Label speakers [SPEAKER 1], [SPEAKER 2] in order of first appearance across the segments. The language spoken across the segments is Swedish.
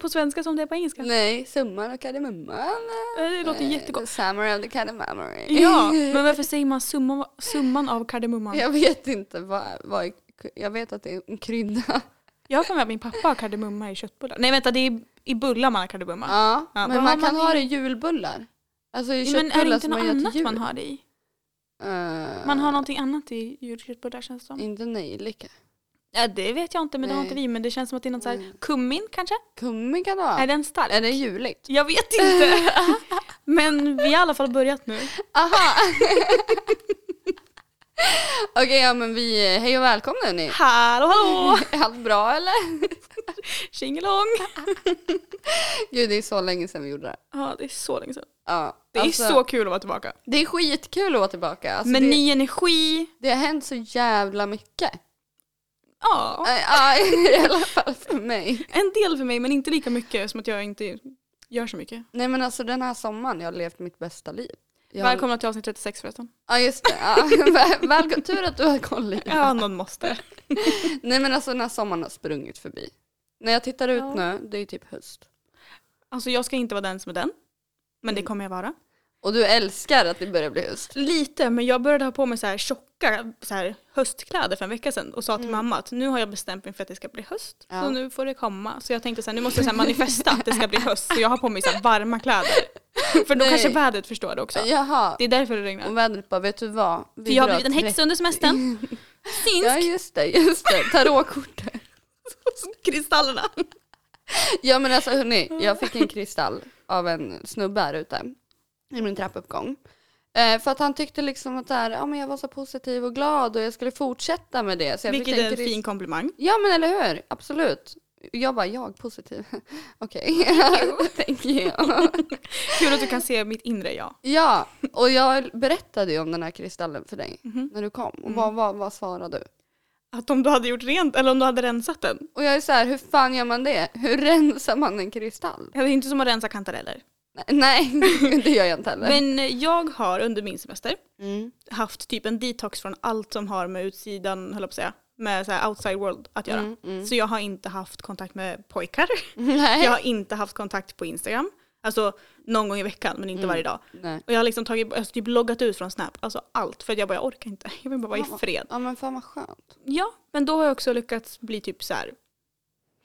[SPEAKER 1] på svenska som det är på engelska.
[SPEAKER 2] Nej, summan och kardemumman.
[SPEAKER 1] Eh, Det låter jättegott.
[SPEAKER 2] The summer of the cardamom.
[SPEAKER 1] Ja, men varför säger man summan, summan av kardemumman?
[SPEAKER 2] Jag vet inte vad, vad är- jag vet att det är en krydda.
[SPEAKER 1] Jag har för mig att min pappa har kardemumma i köttbullar. Nej vänta, det är i bullar man har kardemumma.
[SPEAKER 2] Ja,
[SPEAKER 1] Ja, vad
[SPEAKER 2] men man
[SPEAKER 1] har
[SPEAKER 2] kan
[SPEAKER 1] man
[SPEAKER 2] ha
[SPEAKER 1] i-
[SPEAKER 2] det i julbullar. Alltså i
[SPEAKER 1] Jo, men är det
[SPEAKER 2] köttbullar
[SPEAKER 1] inte
[SPEAKER 2] som
[SPEAKER 1] något
[SPEAKER 2] man gör till
[SPEAKER 1] annat
[SPEAKER 2] jul.
[SPEAKER 1] man har det i?
[SPEAKER 2] Eh,
[SPEAKER 1] Man har någonting annat i julköttbullar känns det som.
[SPEAKER 2] Inte nejlika.
[SPEAKER 1] Ja, det vet jag inte men det har
[SPEAKER 2] Mm. Nej. Mm.
[SPEAKER 1] inte vi. Men det känns som att det är något så här,
[SPEAKER 2] Nej.
[SPEAKER 1] kummin kanske?
[SPEAKER 2] Kummin kan du ha.
[SPEAKER 1] Är den stark?
[SPEAKER 2] Är det juligt?
[SPEAKER 1] Jag vet inte. men vi har i alla fall börjat nu.
[SPEAKER 2] Aha! Okej, ja men vi, eh, hej och välkomna hörni.
[SPEAKER 1] Hallå hallå!
[SPEAKER 2] Är allt bra eller?
[SPEAKER 1] Tjingelong!
[SPEAKER 2] Gud, det är så länge sedan vi gjorde det.
[SPEAKER 1] Ja, det är så länge sedan.
[SPEAKER 2] Ja,
[SPEAKER 1] Det
[SPEAKER 2] alltså,
[SPEAKER 1] är så kul att vara tillbaka.
[SPEAKER 2] det är skitkul att vara tillbaka. Alltså,
[SPEAKER 1] med
[SPEAKER 2] det,
[SPEAKER 1] ny energi.
[SPEAKER 2] det har hänt så jävla mycket.
[SPEAKER 1] Ja,
[SPEAKER 2] Äh, Ja, i alla fall för mig.
[SPEAKER 1] en del för mig men inte lika mycket som att jag inte gör så mycket.
[SPEAKER 2] Nej men alltså den här sommaren, jag har levt mitt bästa liv. Jag har-
[SPEAKER 1] Välkomna till avsnitt 36 förresten.
[SPEAKER 2] Ja just det. Ja. Väl- Välkom... Tur att du har koll Lina.
[SPEAKER 1] Ja, någon måste.
[SPEAKER 2] Nej men alltså den här sommaren har sprungit förbi. När jag tittar ut
[SPEAKER 1] Ja.
[SPEAKER 2] nu, det är ju typ höst.
[SPEAKER 1] Alltså jag ska inte vara den som är den. Men det kommer jag vara.
[SPEAKER 2] Och du älskar att det börjar bli höst.
[SPEAKER 1] Lite, men jag började ha på mig så här tjocka så här, höstkläder för en vecka sedan och sa till mamma att nu har jag bestämt mig för att det ska bli höst.
[SPEAKER 2] Ja.
[SPEAKER 1] Så nu får det komma. Så jag tänkte så här, nu måste jag så här, manifesta att det ska bli höst. Så jag har på mig så här, varma kläder. För då
[SPEAKER 2] Nej.
[SPEAKER 1] kanske vädret förstår det också.
[SPEAKER 2] Jaha.
[SPEAKER 1] Det är därför det regnar.
[SPEAKER 2] Och vädret bara, vet du vad? Vi
[SPEAKER 1] För jag har
[SPEAKER 2] drar
[SPEAKER 1] blivit en häxa under semestern.
[SPEAKER 2] tre- Ja
[SPEAKER 1] Finsk.
[SPEAKER 2] just det, just det. Tarotkortet.
[SPEAKER 1] Kristallerna.
[SPEAKER 2] Ja men alltså hörni, jag fick en kristall av en snubbe här ute i min trappuppgång. Eh, för att han tyckte liksom att så här, ja, men jag var så positiv och glad och jag skulle fortsätta med det. Så jag
[SPEAKER 1] Vilket
[SPEAKER 2] fick
[SPEAKER 1] är en
[SPEAKER 2] krist-
[SPEAKER 1] fin komplimang.
[SPEAKER 2] Ja men eller hur, absolut. Jag bara, jag positiv. Okej, thank you.
[SPEAKER 1] Kul att du kan se mitt inre jag.
[SPEAKER 2] ja, och jag berättade ju om den här kristallen för dig
[SPEAKER 1] Mhm.
[SPEAKER 2] när du kom. Och vad, vad, vad svarade du?
[SPEAKER 1] Att om du hade gjort rent eller om du hade rensat den.
[SPEAKER 2] Och jag är så här, hur fan gör man det? Hur rensar man en kristall?
[SPEAKER 1] Ja, Det är inte som att rensa kantareller.
[SPEAKER 2] Nej, det gör jag inte heller.
[SPEAKER 1] Men eh, jag har under min semester
[SPEAKER 2] Mm.
[SPEAKER 1] haft typ en detox från allt som har med utsidan, höll jag på att säga, med så här outside world att göra.
[SPEAKER 2] Mm, mm.
[SPEAKER 1] Så jag har inte haft kontakt med pojkar.
[SPEAKER 2] Nej.
[SPEAKER 1] Jag har inte haft kontakt på Instagram. Alltså någon gång i veckan men inte varje dag.
[SPEAKER 2] Nej.
[SPEAKER 1] Och jag har liksom tagit, alltså typ loggat ut från Snap, alltså allt. För att jag bara, jag orkar inte. Jag vill bara vara i fred.
[SPEAKER 2] Ja men fan vad skönt.
[SPEAKER 1] Ja, men då har jag också lyckats bli typ så här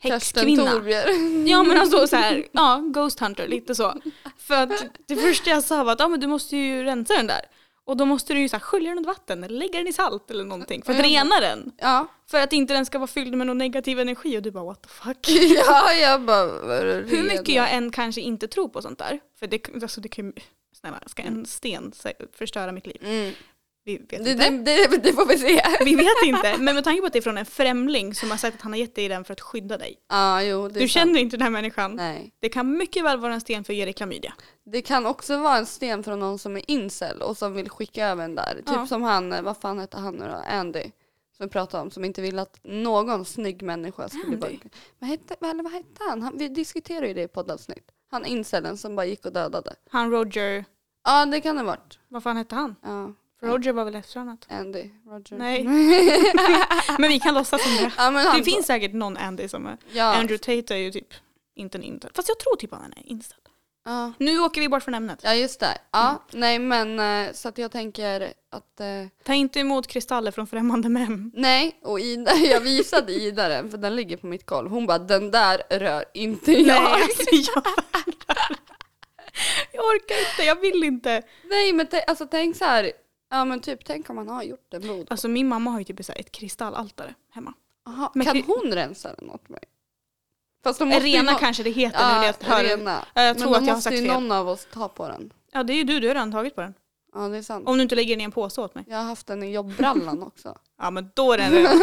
[SPEAKER 2] Kirsten
[SPEAKER 1] häxkvinna.
[SPEAKER 2] Torbjer.
[SPEAKER 1] Ja men alltså så här, ja, ghost hunter, lite så. För att det första jag sa var att ja, men du måste ju rensa den där. Och då måste du ju så här, skölja den under vatten eller lägga den i salt eller någonting för att
[SPEAKER 2] Ja.
[SPEAKER 1] rena den.
[SPEAKER 2] Ja.
[SPEAKER 1] För att inte den ska vara fylld med någon negativ energi och du bara what the fuck.
[SPEAKER 2] ja, jag bara... redan.
[SPEAKER 1] Hur mycket jag än kanske inte tror på sånt där, för det, alltså det kan ju, snälla ska en sten sä- förstöra mitt liv?
[SPEAKER 2] Mm.
[SPEAKER 1] Vi vet
[SPEAKER 2] Det,
[SPEAKER 1] inte.
[SPEAKER 2] det, det, det får vi se.
[SPEAKER 1] Vi vet inte, men med tanke på att det är från en främling som har sagt att han har gett dig den för att skydda dig.
[SPEAKER 2] Ja, jo. Det är
[SPEAKER 1] Du
[SPEAKER 2] sant.
[SPEAKER 1] känner inte den här människan.
[SPEAKER 2] Nej.
[SPEAKER 1] Det kan mycket väl vara en sten för att ge dig klamydia.
[SPEAKER 2] Det kan också vara en sten från någon som är incel och som vill skicka över den där.
[SPEAKER 1] Ja.
[SPEAKER 2] Typ som han, eh, vad fan hette han nu då? Andy. Som vi pratade om, som inte ville att någon snygg människa skulle
[SPEAKER 1] Andy?
[SPEAKER 2] bara... Vad hette, vad- eller vad hette han? han? Vi diskuterade ju det i poddavsnitt. Han incelen som bara gick och dödade.
[SPEAKER 1] Han Roger,
[SPEAKER 2] Ja, det kan det ha varit.
[SPEAKER 1] vad fan hette han?
[SPEAKER 2] Ja,
[SPEAKER 1] För Roger var väl efterhörnat?
[SPEAKER 2] Andy. Roger.
[SPEAKER 1] Nej. men vi kan låtsas som det.
[SPEAKER 2] Ja, men han,
[SPEAKER 1] Det finns säkert någon Andy som är...
[SPEAKER 2] Alltså. Ja.
[SPEAKER 1] Andrew Tate är ju typ inte en inställd. Fast jag tror typ att han är inställd.
[SPEAKER 2] Ja.
[SPEAKER 1] Nu åker vi bort från ämnet.
[SPEAKER 2] Ja just det. Ja, nej men eh, så att jag tänker att eh,
[SPEAKER 1] Ta inte emot kristaller från främmande män.
[SPEAKER 2] nej och Ida, jag visade Ida den för den ligger på mitt golv. Hon bara den där rör inte jag.
[SPEAKER 1] Nej,
[SPEAKER 2] Nej,
[SPEAKER 1] alltså jag Jag orkar inte, jag vill inte.
[SPEAKER 2] men t- alltså tänk så här. Ja men typ tänk om man har gjort det blod.
[SPEAKER 1] Alltså min mamma har ju typ så här ett kristallaltare hemma.
[SPEAKER 2] Aha,
[SPEAKER 1] men
[SPEAKER 2] kan
[SPEAKER 1] det-
[SPEAKER 2] hon rensa den åt mig? Fast då ju
[SPEAKER 1] Rena
[SPEAKER 2] nå-
[SPEAKER 1] kanske det heter nu när
[SPEAKER 2] Ja,
[SPEAKER 1] jag hör det.
[SPEAKER 2] rena.
[SPEAKER 1] Ja, jag
[SPEAKER 2] men
[SPEAKER 1] tror
[SPEAKER 2] då
[SPEAKER 1] att jag har
[SPEAKER 2] måste
[SPEAKER 1] sagt
[SPEAKER 2] ju
[SPEAKER 1] fel.
[SPEAKER 2] någon av oss ta på den.
[SPEAKER 1] Ja det är ju du, du har redan tagit på den.
[SPEAKER 2] Ja det är sant.
[SPEAKER 1] Om du inte lägger ner en påse åt mig.
[SPEAKER 2] Jag har haft den i jobbrallan också.
[SPEAKER 1] Ja men då är den redan.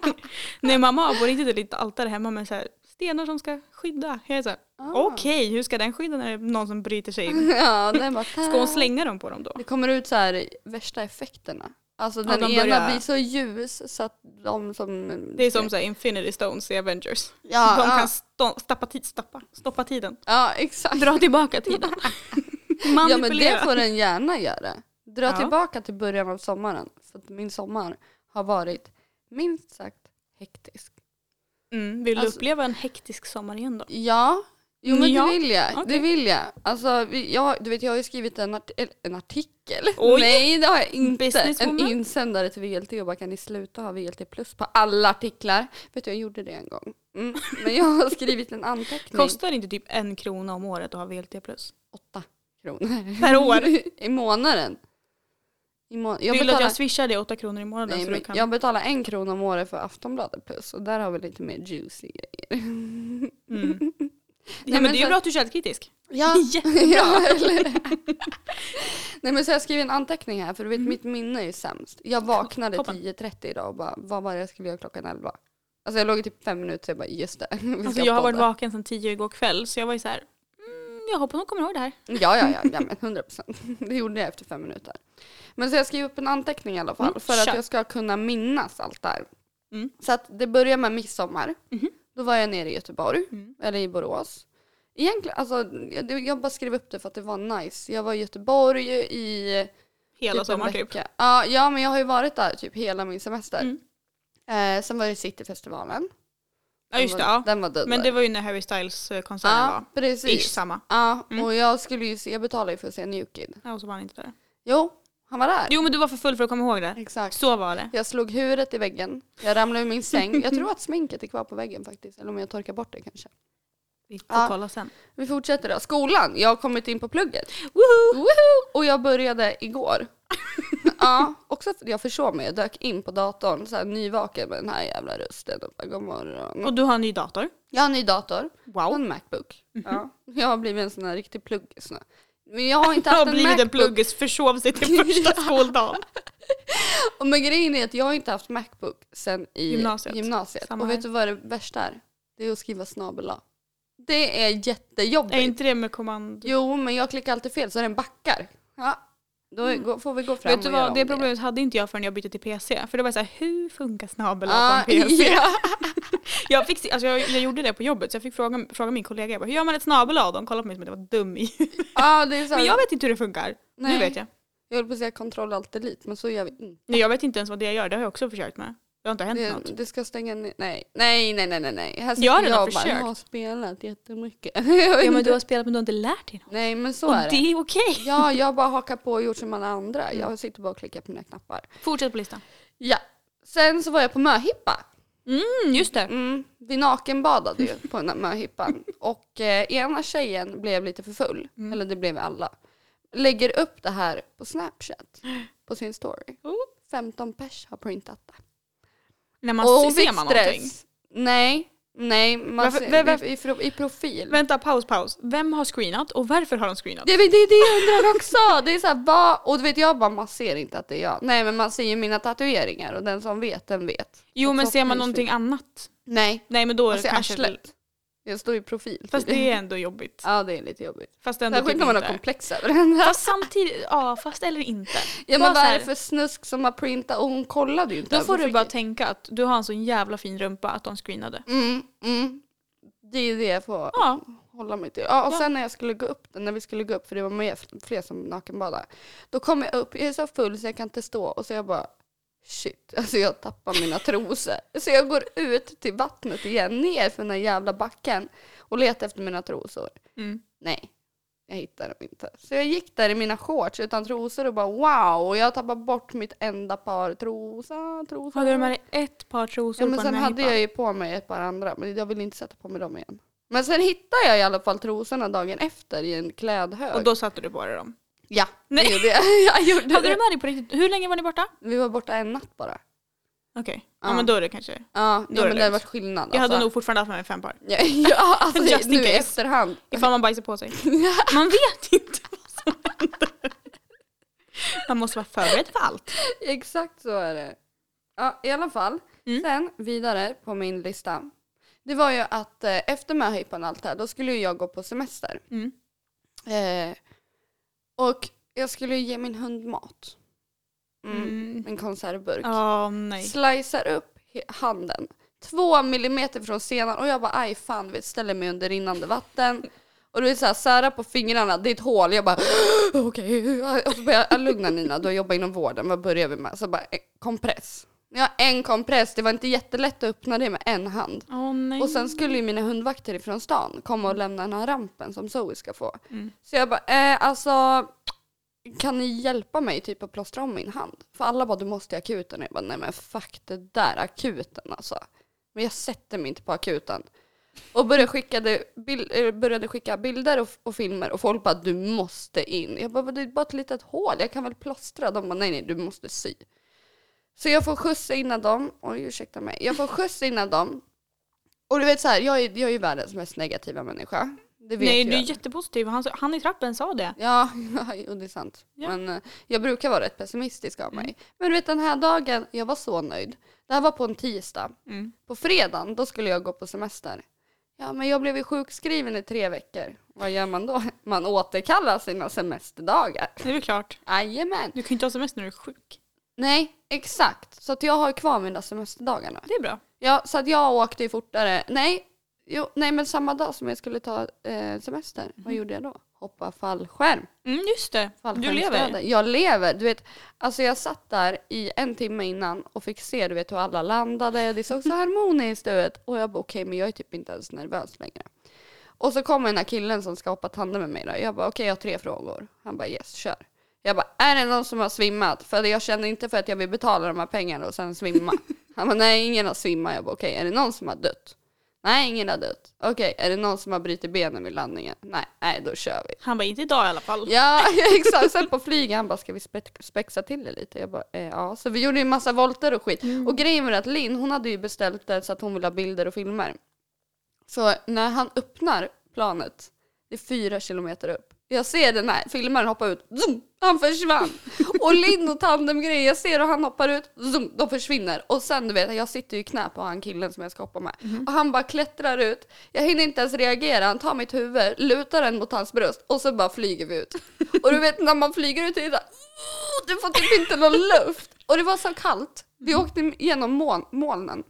[SPEAKER 1] Nej mamma har på riktigt ett litet altare hemma med så här stenar som ska skydda. Jag är så här,
[SPEAKER 2] Ah.
[SPEAKER 1] okej hur ska den skydda när det är någon som bryter sig in?
[SPEAKER 2] ja, den bara,
[SPEAKER 1] Ska hon slänga dem på dem då?
[SPEAKER 2] Det kommer ut så här värsta effekterna. Alltså den
[SPEAKER 1] de
[SPEAKER 2] ena
[SPEAKER 1] börjar-
[SPEAKER 2] blir så ljus så att de som...
[SPEAKER 1] Det är som så här Infinity Stones i Avengers.
[SPEAKER 2] Ja,
[SPEAKER 1] De
[SPEAKER 2] ja,
[SPEAKER 1] kan stå, stoppa, tid, stoppa, stoppa tiden.
[SPEAKER 2] ja exakt.
[SPEAKER 1] Dra tillbaka tiden. Manipulera.
[SPEAKER 2] ja men det får den gärna göra. Dra
[SPEAKER 1] Ja.
[SPEAKER 2] tillbaka till början av sommaren. För att min sommar har varit minst sagt hektisk.
[SPEAKER 1] Mm, vill du
[SPEAKER 2] Alltså-
[SPEAKER 1] uppleva en hektisk sommar igen då?
[SPEAKER 2] Ja, jo men
[SPEAKER 1] Ja,
[SPEAKER 2] det vill jag.
[SPEAKER 1] okej.
[SPEAKER 2] Det vill jag. Alltså, vi, jag du vet, jag har ju skrivit en, art el- en artikel.
[SPEAKER 1] Oj.
[SPEAKER 2] Nej, det har jag inte. En
[SPEAKER 1] Businesswoman.
[SPEAKER 2] insändare till VLT och bara kan ni sluta ha VLT plus på alla artiklar? Vet du, jag gjorde det en gång. Mm. Men jag har skrivit en anteckning.
[SPEAKER 1] Kostar det inte typ en krona om året att ha VLT+. Plus?
[SPEAKER 2] Åtta kronor.
[SPEAKER 1] Per år?
[SPEAKER 2] I månaden. I må jag,
[SPEAKER 1] Vill du att
[SPEAKER 2] betalar,
[SPEAKER 1] jag swishar dig åtta kronor i månaden
[SPEAKER 2] nej,
[SPEAKER 1] så du
[SPEAKER 2] men
[SPEAKER 1] kan...
[SPEAKER 2] jag betalar en krona om året för Aftonbladet plus och där har vi lite mer juicy grejer.
[SPEAKER 1] Mm. Nej, men
[SPEAKER 2] men
[SPEAKER 1] det är ju
[SPEAKER 2] så-
[SPEAKER 1] bra att du är källkritisk.
[SPEAKER 2] Ja.
[SPEAKER 1] Jättebra.
[SPEAKER 2] Ja, eller? Nej men så jag skriver en anteckning här för du
[SPEAKER 1] Mm.
[SPEAKER 2] vet mitt minne är ju sämst. Jag vaknade
[SPEAKER 1] Toppen.
[SPEAKER 2] 10.30 idag och bara vad var det jag skulle göra klockan 11? Alltså jag låg i typ fem minuter så jag bara just det. vi ska
[SPEAKER 1] Alltså, jag har varit
[SPEAKER 2] podda.
[SPEAKER 1] vaken sedan tio igår kväll så jag var ju så här, mm, jag hoppas hon kommer ihåg det här.
[SPEAKER 2] Ja ja ja, ja men 100 procent. Det gjorde jag efter fem minuter. Men så jag skrev upp en anteckning i alla fall
[SPEAKER 1] Mm,
[SPEAKER 2] för att
[SPEAKER 1] kör.
[SPEAKER 2] jag ska kunna minnas allt det här.
[SPEAKER 1] Mm.
[SPEAKER 2] Så att det börjar med midsommar.
[SPEAKER 1] Mhm.
[SPEAKER 2] Då var jag nere i Göteborg,
[SPEAKER 1] Mm.
[SPEAKER 2] eller i Borås. Egentligen, alltså, jag, jag bara skrev upp det för att det var nice. Jag var i Göteborg i
[SPEAKER 1] Hela
[SPEAKER 2] en
[SPEAKER 1] sommaren typ.
[SPEAKER 2] vecka. Ja, ja, men jag har ju varit där typ hela min semester.
[SPEAKER 1] Mm.
[SPEAKER 2] Eh, sen var det Cityfestivalen.
[SPEAKER 1] Ja just det,
[SPEAKER 2] Den var,
[SPEAKER 1] ja.
[SPEAKER 2] Den var död.
[SPEAKER 1] Men det var ju när Harry Styles-konserten
[SPEAKER 2] ja,
[SPEAKER 1] var. Ish
[SPEAKER 2] precis.
[SPEAKER 1] samma.
[SPEAKER 2] Ja,
[SPEAKER 1] Mm.
[SPEAKER 2] och jag skulle ju se, jag betalade ju för att se New Kid.
[SPEAKER 1] Ja, och så var han inte där.
[SPEAKER 2] Jo, han var där.
[SPEAKER 1] Jo men du var för full för att komma ihåg det.
[SPEAKER 2] Exakt.
[SPEAKER 1] Så var det.
[SPEAKER 2] Jag slog huvudet i väggen, jag ramlade ur min säng. Jag tror att sminket är kvar på väggen faktiskt, eller om jag torkar bort det kanske.
[SPEAKER 1] Vi får
[SPEAKER 2] Ja.
[SPEAKER 1] kolla sen.
[SPEAKER 2] Vi fortsätter då. Skolan, jag har kommit in på plugget.
[SPEAKER 1] Woho!
[SPEAKER 2] Woho! Och jag började igår. ja, också för jag försov mig. Jag dök in på datorn så här, nyvaken med den här jävla rösten. Och bara, God morgon.
[SPEAKER 1] Och du har en ny dator.
[SPEAKER 2] Jag har en ny dator och
[SPEAKER 1] Wow.
[SPEAKER 2] en Macbook. Ja. Jag har blivit en sån här riktig pluggis nu. Men jag har inte
[SPEAKER 1] Jag har
[SPEAKER 2] haft en
[SPEAKER 1] blivit en
[SPEAKER 2] Macbook.
[SPEAKER 1] pluggis, försov sig till första skoldagen.
[SPEAKER 2] Och men grejen är att jag har inte haft Macbook sen i gymnasiet.
[SPEAKER 1] Gymnasiet. Samma
[SPEAKER 2] Och
[SPEAKER 1] här.
[SPEAKER 2] vet du vad det värsta är? Det är att skriva snabel A. Det är jättejobbigt.
[SPEAKER 1] Är inte det med kommando?
[SPEAKER 2] Jo, men jag klickar alltid fel så den backar. Ja. Då är- går- får vi gå fram
[SPEAKER 1] Mm. Vet du
[SPEAKER 2] och göra
[SPEAKER 1] vad,
[SPEAKER 2] om
[SPEAKER 1] det problemet hade inte jag förrän jag bytte till PC. För det var så här, hur funkar snabel
[SPEAKER 2] Ah,
[SPEAKER 1] på en PC?
[SPEAKER 2] ja.
[SPEAKER 1] Jag, fick, se- alltså jag, jag gjorde det på jobbet så jag fick fråga, fråga min kollega, jag bara, hur gör man ett snabel av? De kollade på mig som att jag var dum i
[SPEAKER 2] Ja, det är så.
[SPEAKER 1] Men jag vet inte hur det funkar.
[SPEAKER 2] Nej.
[SPEAKER 1] Nu vet jag.
[SPEAKER 2] jag höll på att säga kontroll allt delete, men så gör vi inte.
[SPEAKER 1] Nej, jag vet inte ens vad det gör, det har jag också försökt med. Det har inte hänt något.
[SPEAKER 2] Det, det ska stänga ner. Nej, nej, nej, nej, nej, nej. Här sitter
[SPEAKER 1] Jag har
[SPEAKER 2] jag,
[SPEAKER 1] redan
[SPEAKER 2] och bara, jag
[SPEAKER 1] försökt.
[SPEAKER 2] har spelat jättemycket. ja,
[SPEAKER 1] spelat men du har inte lärt dig något.
[SPEAKER 2] Nej, men så
[SPEAKER 1] Och
[SPEAKER 2] är det.
[SPEAKER 1] det Mm. är okej.
[SPEAKER 2] Ja, jag har bara hakar på och gjort som alla andra. Jag sitter bara och klickar på mina knappar.
[SPEAKER 1] Fortsätt på listan.
[SPEAKER 2] Ja. Sen så var jag på möhippa.
[SPEAKER 1] Mm, just det.
[SPEAKER 2] Mm, vi nakenbadade ju på den här möhippan. Och eh, ena tjejen blev lite för full.
[SPEAKER 1] Mm.
[SPEAKER 2] Eller det blev vi alla. Lägger upp det här på Snapchat. På sin story.
[SPEAKER 1] Oh.
[SPEAKER 2] 15 pers har printat det.
[SPEAKER 1] När man
[SPEAKER 2] Och
[SPEAKER 1] se-
[SPEAKER 2] hon
[SPEAKER 1] ser
[SPEAKER 2] fick
[SPEAKER 1] man
[SPEAKER 2] stress.
[SPEAKER 1] någonting.
[SPEAKER 2] Nej, nej. Man
[SPEAKER 1] Varför-
[SPEAKER 2] ser,
[SPEAKER 1] vem- vem-
[SPEAKER 2] I, i, fro- I profil.
[SPEAKER 1] Vänta, paus, paus. Vem har screenat och varför har de screenat?
[SPEAKER 2] Det, det, det är det jag undrar också. Det är så här, vad? Och du vet jag bara, man ser inte att det är jag. Nej men man ser ju mina tatueringar och den som vet den vet.
[SPEAKER 1] Jo,
[SPEAKER 2] Och
[SPEAKER 1] men
[SPEAKER 2] så-
[SPEAKER 1] ser man någonting annat?
[SPEAKER 2] Nej,
[SPEAKER 1] Nej, men då är
[SPEAKER 2] man
[SPEAKER 1] det
[SPEAKER 2] ser
[SPEAKER 1] kanske...
[SPEAKER 2] arslet. Jag står i profil.
[SPEAKER 1] Alltså, Fast det är ändå jobbigt.
[SPEAKER 2] Ja det är lite jobbigt.
[SPEAKER 1] Fast ändå
[SPEAKER 2] Särskilt
[SPEAKER 1] typ
[SPEAKER 2] när man har
[SPEAKER 1] inte.
[SPEAKER 2] komplex över den här.
[SPEAKER 1] Fast samtidigt, ja fast eller inte. Bara
[SPEAKER 2] Ja men vad
[SPEAKER 1] så
[SPEAKER 2] är
[SPEAKER 1] här-
[SPEAKER 2] det för snusk som har printat och hon kollade ju inte.
[SPEAKER 1] Då får du
[SPEAKER 2] Hon
[SPEAKER 1] bara
[SPEAKER 2] fick-
[SPEAKER 1] tänka att du har en sån jävla fin rumpa att de screenade.
[SPEAKER 2] Mm, mm. Det är det jag får
[SPEAKER 1] Ja,
[SPEAKER 2] hålla mig till. Ja, och
[SPEAKER 1] Ja.
[SPEAKER 2] sen när jag skulle gå upp, när vi skulle gå upp, för det var mer, fler som nakenbadade, då kom jag upp, jag är så full så jag kan inte stå och så jag bara shit, alltså jag tappar mina trosor. Så jag går ut till vattnet igen, ner för den här jävla backen och letar efter mina trosor.
[SPEAKER 1] mm.
[SPEAKER 2] Nej, jag hittar dem inte. Så jag gick där i mina shorts utan trosor och bara wow, och jag tappar bort mitt enda par trosa, trosa.
[SPEAKER 1] Hade du med dig ett par trosor
[SPEAKER 2] Ja, men
[SPEAKER 1] på den
[SPEAKER 2] sen
[SPEAKER 1] här
[SPEAKER 2] hade
[SPEAKER 1] hippan?
[SPEAKER 2] jag ju på mig ett par andra, men jag ville inte sätta på mig dem igen. Men sen hittade jag i alla fall trosorna dagen efter i en klädhög.
[SPEAKER 1] Och då satte du på dig dem?
[SPEAKER 2] Ja,
[SPEAKER 1] Nej.
[SPEAKER 2] det gjorde jag. jag gjorde
[SPEAKER 1] Hade du
[SPEAKER 2] det.
[SPEAKER 1] med dig på riktigt? Hur länge var ni borta?
[SPEAKER 2] Vi var borta en natt bara.
[SPEAKER 1] Okej, ja.
[SPEAKER 2] Ja.
[SPEAKER 1] men då är det kanske.
[SPEAKER 2] Ja,
[SPEAKER 1] Då
[SPEAKER 2] ja
[SPEAKER 1] är det
[SPEAKER 2] men det
[SPEAKER 1] lugnt.
[SPEAKER 2] var skillnad
[SPEAKER 1] Jag hade
[SPEAKER 2] alltså.
[SPEAKER 1] nog fortfarande haft med mig fem par.
[SPEAKER 2] Ja, ja alltså
[SPEAKER 1] Just in
[SPEAKER 2] nu i
[SPEAKER 1] case.
[SPEAKER 2] efterhand.
[SPEAKER 1] Ifall man bajsar på sig. Man vet inte vad som händer. Man måste vara förberedd för allt.
[SPEAKER 2] Exakt så är det. Ja, i alla fall.
[SPEAKER 1] Mm.
[SPEAKER 2] Sen vidare på min lista. Det var ju att eh, efter möhippan och allt det här, då skulle ju jag gå på semester.
[SPEAKER 1] Mm.
[SPEAKER 2] Eh, och jag skulle ju ge min hund mat. Mm.
[SPEAKER 1] Mm.
[SPEAKER 2] en konservburk.
[SPEAKER 1] Åh, nej.
[SPEAKER 2] Slicear upp he- handen. Två millimeter från senan och jag bara aj fan du vet, ställer mig under rinnande vatten. Och du vet såhär sära på fingrarna, det är ett hål. Jag bara okej. Och så börjar jag lugna Nina, du har jobbat inom vården, vad börjar vi med? Så bara eh, kompress. När jag har en kompress, det var inte jättelätt att öppna det med en hand.
[SPEAKER 1] Åh nej.
[SPEAKER 2] Och sen skulle ju mina hundvakter ifrån stan komma och lämna den här rampen som Zoe ska få.
[SPEAKER 1] Mm.
[SPEAKER 2] Så jag bara, eh, alltså kan ni hjälpa mig typ att plåstra om min hand? För alla bara, du måste i akuten. Och jag bara, nej men fuck det där akuten alltså. Men jag sätter mig inte på akuten. Och började skicka, det, bil, eh, började skicka bilder och, och filmer och folk bara, du måste in. Jag bara, "Men det är bara ett litet hål, jag kan väl plåstra? De bara, nej nej, du måste sy. Så jag får skjuts in av dem, oj ursäkta mig, jag får skjuts in av dem. Och du vet så här, jag är, jag är ju världens mest negativa människa. Det vet
[SPEAKER 1] Nej
[SPEAKER 2] ju
[SPEAKER 1] du är
[SPEAKER 2] jag.
[SPEAKER 1] jättepositiv. Han, sa- han i trappen sa det.
[SPEAKER 2] Ja, jo, det är sant.
[SPEAKER 1] Ja. Mm.
[SPEAKER 2] Men eh, jag brukar vara rätt pessimistisk av mig. Men du vet den här dagen, jag var så nöjd. Det här var på en tisdag.
[SPEAKER 1] Mm.
[SPEAKER 2] På fredagen, då skulle jag gå på semester. Ja, men jag blev ju sjukskriven i tre veckor. Vad gör man då? Man återkallar sina semesterdagar.
[SPEAKER 1] Det är väl klart.
[SPEAKER 2] Jajamän.
[SPEAKER 1] Du kan ju inte ha semester när du är sjuk.
[SPEAKER 2] Nej, exakt. Så att jag har kvar mina semesterdagar nu.
[SPEAKER 1] Det är bra.
[SPEAKER 2] Ja, så att jag åkte ju fortare. Nej, jo, nej men samma dag som jag skulle ta eh, semester, vad gjorde jag då? Hoppa fallskärm.
[SPEAKER 1] Mm, just det. Du lever.
[SPEAKER 2] fallskärmsdöden. Jag lever. Du vet, alltså jag satt där i en timme innan och fick se du vet, hur alla landade. Det såg så harmoniskt ut. Och jag bara okej, men jag är typ inte ens nervös längre. Och så kommer den här killen som ska hoppa tandem med mig. Då. Jag bara okej, jag har tre frågor. Han bara yes, kör. Jag bara är det någon som har svimmat? För jag känner inte för att jag vill betala de här pengarna och sen svimma. Han bara nej, ingen har svimmat. Jag bara okej, är det någon som har dött? Nej, ingen har dött. Okej, är det någon som har brutit benen vid landningen? Nej, nej, då kör vi.
[SPEAKER 1] Han bara, inte idag i alla fall.
[SPEAKER 2] Ja exakt, sen på flyget han bara ska vi spe- spexa till det lite? Jag bara eh, ja, så vi gjorde ju massa volter och skit. Och grejen var att Linn hon hade ju beställt det så att hon ville ha bilder och filmer. Så när han öppnar planet, det är fyra kilometer upp. Jag ser den här filmaren hoppa ut, zoom, han försvann. Och Linn och tandemgrejen, jag ser hur han hoppar ut, zoom, de försvinner. Och sen du vet, jag sitter ju i knä på han killen som jag ska hoppa med. Och han bara klättrar ut, jag hinner inte ens reagera, han tar mitt huvud, lutar den mot hans bröst och så bara flyger vi ut. Och du vet när man flyger ut, det är det "Åh, du får typ inte någon luft. Och det var så kallt, vi åkte genom moln- molnen.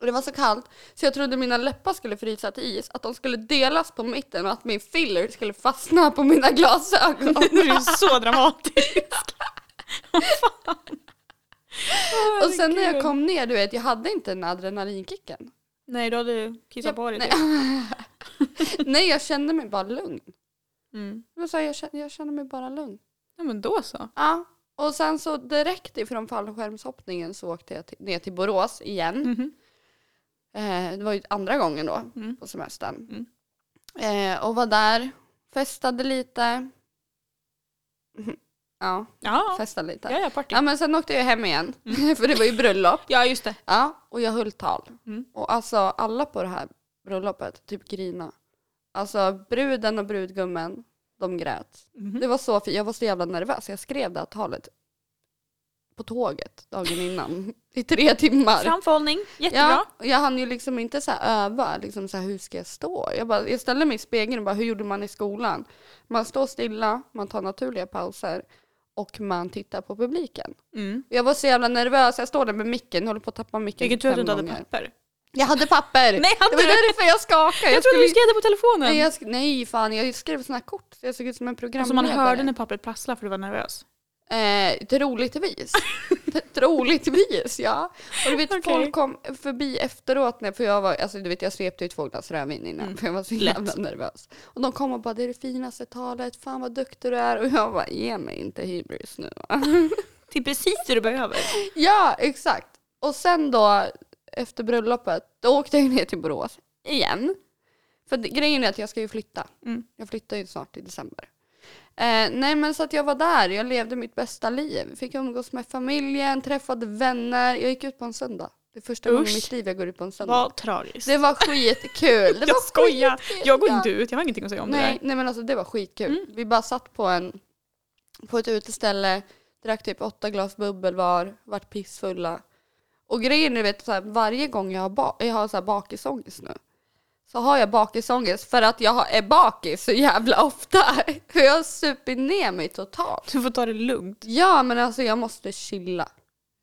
[SPEAKER 2] Och det var så kallt så jag trodde mina läppar skulle frysa till is, att de skulle delas på mitten och att min filler skulle fastna på mina glasögon.
[SPEAKER 1] Du är så dramatisk. Åh,
[SPEAKER 2] och sen när jag
[SPEAKER 1] herregud.
[SPEAKER 2] kom ner, du vet, jag hade inte den adrenalinkicken.
[SPEAKER 1] Nej, då hade du kissat
[SPEAKER 2] Jag-
[SPEAKER 1] på dig.
[SPEAKER 2] nej.
[SPEAKER 1] typ.
[SPEAKER 2] Nej, jag kände mig bara lugn.
[SPEAKER 1] Mm.
[SPEAKER 2] Jag, sa, jag, kände, jag kände mig bara lugn.
[SPEAKER 1] Ja, men då så.
[SPEAKER 2] Ja. Och sen så direkt ifrån fallskärmshoppningen så åkte jag till, ner till Borås igen.
[SPEAKER 1] Mhm.
[SPEAKER 2] Eh, det var ju andra gången då
[SPEAKER 1] Mm.
[SPEAKER 2] på semestern.
[SPEAKER 1] Mm.
[SPEAKER 2] Eh, och var där, festade lite. ja,
[SPEAKER 1] Ja,
[SPEAKER 2] festade lite.
[SPEAKER 1] ja, ja, party.
[SPEAKER 2] Ja men sen åkte jag hem igen, för det var ju bröllop.
[SPEAKER 1] Ja, just det.
[SPEAKER 2] Ja, och jag höll tal.
[SPEAKER 1] Mm.
[SPEAKER 2] Och alltså alla på det här bröllopet typ grina. Alltså bruden och brudgummen, de grät.
[SPEAKER 1] Mhm.
[SPEAKER 2] Det var så fint, jag var så jävla nervös. Jag skrev det här talet på tåget dagen innan. I tre timmar.
[SPEAKER 1] Framförhållning, jättebra.
[SPEAKER 2] Ja, och jag hann ju liksom inte så här öva, liksom så här, hur ska jag stå? Jag, bara, jag ställde mig i spegeln och bara, hur gjorde man i skolan? Man står stilla, man tar naturliga pauser och man tittar på publiken.
[SPEAKER 1] Mm.
[SPEAKER 2] Jag var så jävla nervös, jag står där med micken, håller på att tappa micken
[SPEAKER 1] Vilken tur att du
[SPEAKER 2] fem
[SPEAKER 1] inte hade
[SPEAKER 2] gånger.
[SPEAKER 1] papper.
[SPEAKER 2] Jag hade papper!
[SPEAKER 1] Nej, hade
[SPEAKER 2] det var
[SPEAKER 1] du?
[SPEAKER 2] därför jag skakade.
[SPEAKER 1] Jag, trodde du
[SPEAKER 2] skulle-
[SPEAKER 1] skrev det på telefonen.
[SPEAKER 2] nej, jag sk- nej fan, jag skrev såna här kort så jag såg ut som en
[SPEAKER 1] Som
[SPEAKER 2] programledare.
[SPEAKER 1] Alltså, man hörde när pappret prasslade för du var nervös.
[SPEAKER 2] Eh, troligtvis. T- troligtvis, ja. Och du vet,
[SPEAKER 1] Okej.
[SPEAKER 2] folk kom förbi efteråt, när, för jag var, alltså du vet, jag svepte ju två glas rödvin innan, för jag var så jävla nervös. Och de kom och bara, det är det finaste talet, fan vad duktig du är. Och jag bara, ge mig inte hybris nu. va?"
[SPEAKER 1] Till precis det du behöver.
[SPEAKER 2] ja, exakt. Och sen då, efter bröllopet, då åkte jag ner till Borås igen. För det- grejen är att jag ska ju flytta.
[SPEAKER 1] Mm.
[SPEAKER 2] Jag flyttar ju snart i december. Eh, nej men så att jag var där, jag levde mitt bästa liv. Fick umgås med familjen, träffade vänner. Jag gick ut på en söndag. Det är första gången i
[SPEAKER 1] Usch.
[SPEAKER 2] mitt liv jag går ut på en söndag.
[SPEAKER 1] Vad tragiskt.
[SPEAKER 2] Det var skitkul. Det var
[SPEAKER 1] jag skojar.
[SPEAKER 2] skitkul.
[SPEAKER 1] Jag går inte ut, jag har ingenting att säga om
[SPEAKER 2] Nej,
[SPEAKER 1] det Mm.
[SPEAKER 2] nej men alltså det var skitkul. Vi bara satt på, en, på ett uteställe, drack typ åtta glas bubbel var, vart pissfulla. Och grejen är du vet, så här, varje gång jag har, ba- jag har så här bakisångest nu så har jag bakisångest för att jag har- är bakis så jävla ofta. För jag har supit ner mig totalt.
[SPEAKER 1] där. Du får ta det lugnt.
[SPEAKER 2] Ja men alltså jag måste chilla.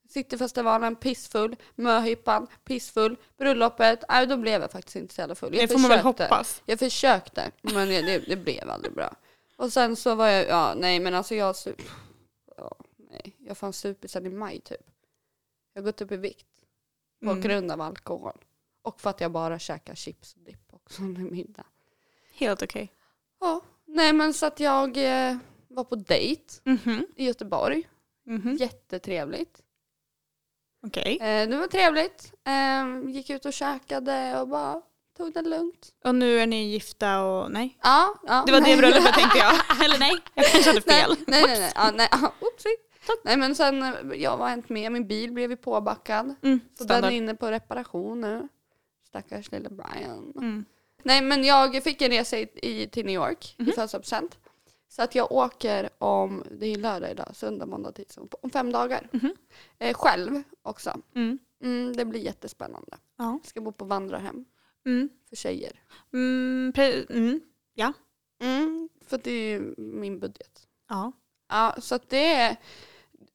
[SPEAKER 2] Cityfestivalen, pissfull, möhippan, pissfull, bröllopet. Nej då blev jag faktiskt inte så jävla full. Jag
[SPEAKER 1] Det får man väl
[SPEAKER 2] försökte.
[SPEAKER 1] hoppas.
[SPEAKER 2] Jag försökte men jag, det, det blev aldrig bra. Och sen så var jag, ja nej men alltså jag, su- ja, nej, jag fanns super sen i maj typ. Jag har gått upp i vikt på
[SPEAKER 1] Mm.
[SPEAKER 2] grund av alkohol. Och för att jag bara käkar chips och dipp också under middag.
[SPEAKER 1] Helt okej.
[SPEAKER 2] Ja, nej men så att jag eh, var på dejt
[SPEAKER 1] Mhm.
[SPEAKER 2] i Göteborg. Mm-hmm.
[SPEAKER 1] Mhm.
[SPEAKER 2] Jättetrevligt.
[SPEAKER 1] Okej.
[SPEAKER 2] Eh, det var trevligt. Eh, gick ut och käkade och bara tog det lugnt.
[SPEAKER 1] Och nu är ni gifta och nej?
[SPEAKER 2] Ja, ja.
[SPEAKER 1] Det var
[SPEAKER 2] nej.
[SPEAKER 1] det bröllopet tänkte jag. Eller nej, jag kanske hade
[SPEAKER 2] Nej,
[SPEAKER 1] fel.
[SPEAKER 2] nej, nej. nej. Ja, nej. Ja, oopsie. nej men sen, eh, jag var hänt med. Min bil blev ju påbackad.
[SPEAKER 1] Mm,
[SPEAKER 2] Så den är
[SPEAKER 1] standard.
[SPEAKER 2] inne på reparation nu. Stackars lille Brian.
[SPEAKER 1] Mm.
[SPEAKER 2] Nej men jag fick en resa i, i, till New York
[SPEAKER 1] Mhm.
[SPEAKER 2] i födelsedagspresent. Så att jag åker om, det är ju lördag idag, söndag, måndag, tisdag, om fem dagar.
[SPEAKER 1] Mhm.
[SPEAKER 2] Eh, själv också.
[SPEAKER 1] Mm.
[SPEAKER 2] Mm, det blir jättespännande.
[SPEAKER 1] Ja.
[SPEAKER 2] Ska bo på vandrarhem
[SPEAKER 1] Mm.
[SPEAKER 2] för tjejer.
[SPEAKER 1] Mm, pre- mm.
[SPEAKER 2] Mm, för det är ju min budget.
[SPEAKER 1] Ja.
[SPEAKER 2] Ja, så att det är...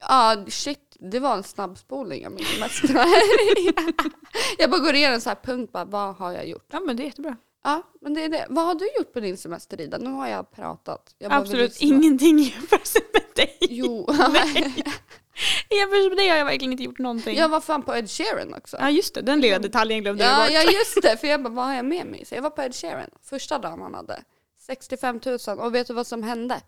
[SPEAKER 2] Ja, shit, det var en snabbspolning av min mest. jag bara går igenom så här punkt, bara, vad har jag gjort?
[SPEAKER 1] ja, men det är jättebra.
[SPEAKER 2] Ja, men det är det. Vad har du gjort på din semester Ida? Nu har jag pratat. Jag behöver
[SPEAKER 1] Absolut
[SPEAKER 2] lyssna.
[SPEAKER 1] ingenting jämfört med dig.
[SPEAKER 2] Jo.
[SPEAKER 1] Jämfört med dig har jag verkligen inte gjort någonting.
[SPEAKER 2] jag var fan på Ed Sheeran också.
[SPEAKER 1] Ja just det, den lilla detaljen glömde jag
[SPEAKER 2] Ja,
[SPEAKER 1] bort.
[SPEAKER 2] ja just det, för jag bara, vad har jag med mig? Så jag var på Ed Sheeran första dagen han hade. 65 000 och vet du vad som hände?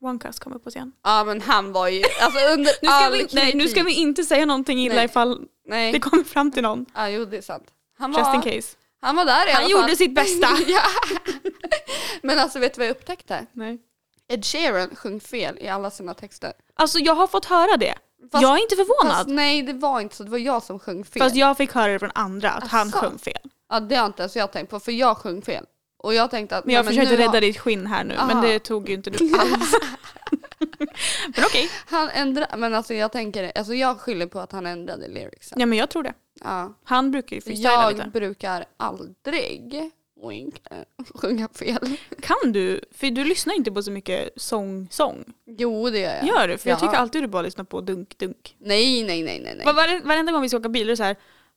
[SPEAKER 1] Onecast kommer på scen.
[SPEAKER 2] Ja men han var ju, alltså under
[SPEAKER 1] Nu ska,
[SPEAKER 2] all
[SPEAKER 1] vi, nej, nu ska
[SPEAKER 2] kritik.
[SPEAKER 1] vi inte säga någonting illa
[SPEAKER 2] Nej.
[SPEAKER 1] ifall
[SPEAKER 2] Nej,
[SPEAKER 1] det kommer fram till någon.
[SPEAKER 2] ja jo det är sant. Han
[SPEAKER 1] Just in
[SPEAKER 2] var,
[SPEAKER 1] case.
[SPEAKER 2] han var där i
[SPEAKER 1] Han
[SPEAKER 2] alla
[SPEAKER 1] gjorde
[SPEAKER 2] fall.
[SPEAKER 1] sitt bästa.
[SPEAKER 2] ja. Men alltså vet du vad jag upptäckte?
[SPEAKER 1] Nej.
[SPEAKER 2] Ed Sheeran sjöng fel i alla sina texter.
[SPEAKER 1] Alltså jag har fått höra det.
[SPEAKER 2] Fast-
[SPEAKER 1] jag är inte förvånad.
[SPEAKER 2] Fast
[SPEAKER 1] Fast,
[SPEAKER 2] nej det var inte så, det var jag som sjöng fel.
[SPEAKER 1] jag fick höra det från andra att han
[SPEAKER 2] Asså.
[SPEAKER 1] sjöng fel.
[SPEAKER 2] Ja det har inte ens jag tänkt på för jag sjöng fel. Och jag tänkte att...
[SPEAKER 1] Men jag
[SPEAKER 2] nej,
[SPEAKER 1] försökte
[SPEAKER 2] nu
[SPEAKER 1] rädda
[SPEAKER 2] har-
[SPEAKER 1] ditt skinn här nu men
[SPEAKER 2] Aha.
[SPEAKER 1] det tog ju inte du alls. men okej.
[SPEAKER 2] Han ändrade, men alltså jag tänker, alltså jag skyller på att han ändrade lyricsen.
[SPEAKER 1] Ja men jag tror det.
[SPEAKER 2] Ja.
[SPEAKER 1] Han brukar ju freestyla
[SPEAKER 2] Jag
[SPEAKER 1] lite.
[SPEAKER 2] brukar aldrig wink, eh, sjunga fel.
[SPEAKER 1] Kan du? För du lyssnar inte på så mycket sång-sång.
[SPEAKER 2] Jo det gör jag.
[SPEAKER 1] Gör du? För jag
[SPEAKER 2] Ja.
[SPEAKER 1] tycker alltid du bara lyssnar på dunk-dunk.
[SPEAKER 2] Nej nej nej nej. nej.
[SPEAKER 1] Var, var, varenda gång vi ska åka bil är det så här,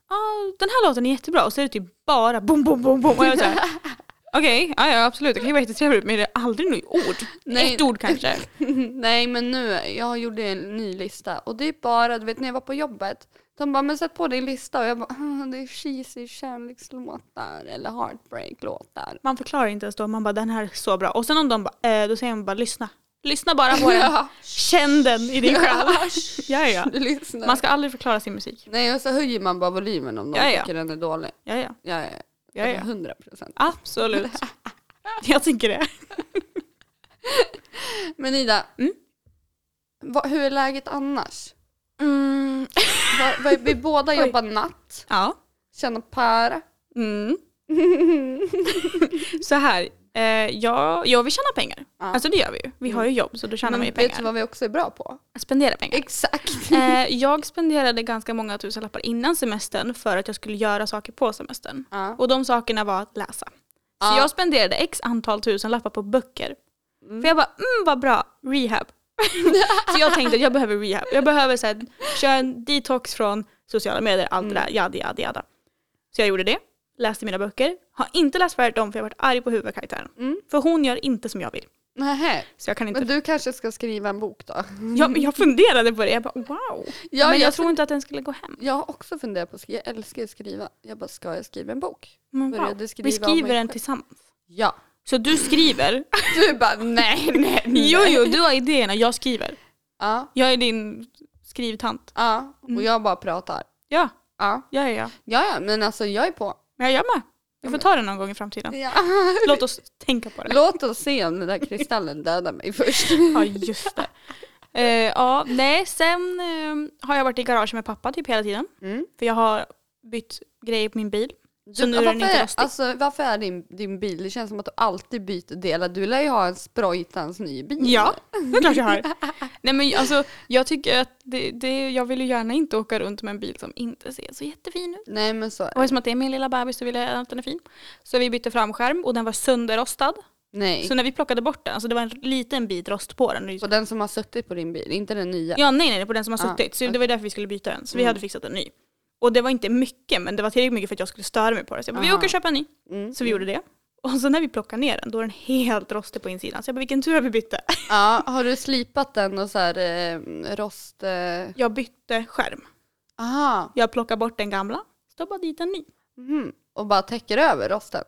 [SPEAKER 1] ah, den här låten är jättebra och så är det typ bara bom, bom, bom, bom. Och jag är så här, Okej, ja, ja absolut, det kan ju vara jättetrevligt men det är aldrig något ord.
[SPEAKER 2] Nej.
[SPEAKER 1] Ett ord kanske.
[SPEAKER 2] nej men nu, jag gjorde en ny lista och det är bara, du vet när jag var på jobbet. De bara, men sätt på din lista och jag bara, "Ah, det är cheesy kärlekslåtar eller heartbreak-låtar.
[SPEAKER 1] Man förklarar inte ens då, man bara den här är så bra. Och sen om de bara, eh, då säger man bara lyssna. Lyssna bara på den.
[SPEAKER 2] Ja.
[SPEAKER 1] Känn den i din själ. Ja, ja.
[SPEAKER 2] Du lyssnar.
[SPEAKER 1] Man ska aldrig förklara sin musik.
[SPEAKER 2] Nej och så höjer man bara volymen om de
[SPEAKER 1] Ja, ja.
[SPEAKER 2] tycker den är dålig.
[SPEAKER 1] Ja, ja.
[SPEAKER 2] Ja, ja,
[SPEAKER 1] Ja, ja.
[SPEAKER 2] 100 procent.
[SPEAKER 1] Absolut. Jag tycker det.
[SPEAKER 2] Men Ida,
[SPEAKER 1] Mm.
[SPEAKER 2] vad, hur är läget annars?
[SPEAKER 1] Mm.
[SPEAKER 2] Vad- vad- vi båda
[SPEAKER 1] Oj.
[SPEAKER 2] jobbar natt,
[SPEAKER 1] Ja.
[SPEAKER 2] känner par.
[SPEAKER 1] Mm. så här, eh, jag, jag vill tjäna pengar.
[SPEAKER 2] Ja.
[SPEAKER 1] Alltså det gör vi ju. Vi har ju jobb så då tjänar man ju
[SPEAKER 2] Men vet du
[SPEAKER 1] pengar.
[SPEAKER 2] vad vi också är bra på?
[SPEAKER 1] Spendera pengar.
[SPEAKER 2] Exakt.
[SPEAKER 1] Eh, jag spenderade ganska många tusenlappar innan semestern för att jag skulle göra saker på semestern.
[SPEAKER 2] Ja.
[SPEAKER 1] Och de sakerna var att läsa. Så
[SPEAKER 2] Ja.
[SPEAKER 1] jag spenderade x antal tusenlappar på böcker.
[SPEAKER 2] Mm.
[SPEAKER 1] För jag bara, mm vad bra, rehab. så jag tänkte att jag behöver rehab. Jag behöver så här, köra en detox från sociala medier, allt
[SPEAKER 2] Mm.
[SPEAKER 1] det där, jada jada jada. Så jag gjorde det, läste mina böcker. Har inte läst färdigt dem för jag har varit arg på huvudkaraktären.
[SPEAKER 2] Mm.
[SPEAKER 1] För hon gör inte som jag vill.
[SPEAKER 2] Nähä.
[SPEAKER 1] Så jag kan inte...
[SPEAKER 2] Men du kanske ska skriva en bok då?
[SPEAKER 1] Jag, men jag funderade på det, jag bara wow.
[SPEAKER 2] Mm. Ja,
[SPEAKER 1] men jag,
[SPEAKER 2] jag
[SPEAKER 1] tror inte att den skulle gå hem.
[SPEAKER 2] Jag har också funderat på att skriva, jag älskar ju att skriva. Jag bara, ska jag skriva en bok?
[SPEAKER 1] Men
[SPEAKER 2] Började
[SPEAKER 1] wow.
[SPEAKER 2] skriva
[SPEAKER 1] Vi
[SPEAKER 2] om
[SPEAKER 1] skriver
[SPEAKER 2] mig
[SPEAKER 1] den
[SPEAKER 2] själv.
[SPEAKER 1] tillsammans.
[SPEAKER 2] Ja.
[SPEAKER 1] Så du skriver,
[SPEAKER 2] Du bara, nej, nej, nej.
[SPEAKER 1] jo jo du har idéerna, jag skriver.
[SPEAKER 2] Ja,
[SPEAKER 1] Jag är din skrivtant.
[SPEAKER 2] ja. Och jag bara pratar.
[SPEAKER 1] Ja,
[SPEAKER 2] Ja.
[SPEAKER 1] ja ja, ja.
[SPEAKER 2] Mm. Ja, ja, men alltså jag är på.
[SPEAKER 1] Men jag med. Vi får ta det någon gång i framtiden.
[SPEAKER 2] Ja.
[SPEAKER 1] Låt oss tänka på det.
[SPEAKER 2] Låt oss se om den där kristallen dödar mig först.
[SPEAKER 1] Ja, just det. Eh, ja, nej, sen eh, har jag varit i garaget med pappa typ hela tiden.
[SPEAKER 2] Mm.
[SPEAKER 1] För jag har bytt grejer på min bil. Så
[SPEAKER 2] Du,
[SPEAKER 1] nu är den
[SPEAKER 2] varför
[SPEAKER 1] inte rostig.
[SPEAKER 2] Alltså, varför är din, din bil, det känns som att du alltid byter delar. Du lär ju ha en sprojtans ny bil.
[SPEAKER 1] Ja, det är klart jag har. Nej men alltså, jag tycker att det, det, jag vill ju gärna inte åka runt med en bil som inte ser så jättefin ut.
[SPEAKER 2] Nej men så är
[SPEAKER 1] Och
[SPEAKER 2] det.
[SPEAKER 1] eftersom att det är min lilla bebis så vill jag gärna att den är fin. Så vi bytte framskärm och den var sönderrostad.
[SPEAKER 2] Nej.
[SPEAKER 1] Så när vi plockade bort den, alltså det var en liten bit rost på den. Och det är så-
[SPEAKER 2] På den som har suttit på din bil, inte den nya.
[SPEAKER 1] Ja, nej, nej, på den som har
[SPEAKER 2] Ah, Mm.
[SPEAKER 1] suttit. Så det var därför vi skulle byta den. Så vi hade fixat en ny. Och det var inte mycket, men det var tillräckligt mycket för att jag skulle störa mig på det. Så jag bara, vi
[SPEAKER 2] Aha.
[SPEAKER 1] åker och köper en ny.
[SPEAKER 2] Mm.
[SPEAKER 1] Så vi gjorde det. Och sen när vi plockade ner den, då är den helt rostig på insidan. Så jag bara, vilken tur att vi bytte.
[SPEAKER 2] Ja, har du slipat den och så här eh, rost... Eh...
[SPEAKER 1] Jag bytte skärm.
[SPEAKER 2] Aha.
[SPEAKER 1] Jag plockar bort den gamla, stoppar dit en ny.
[SPEAKER 2] Mhm. Och bara täcker över rosten.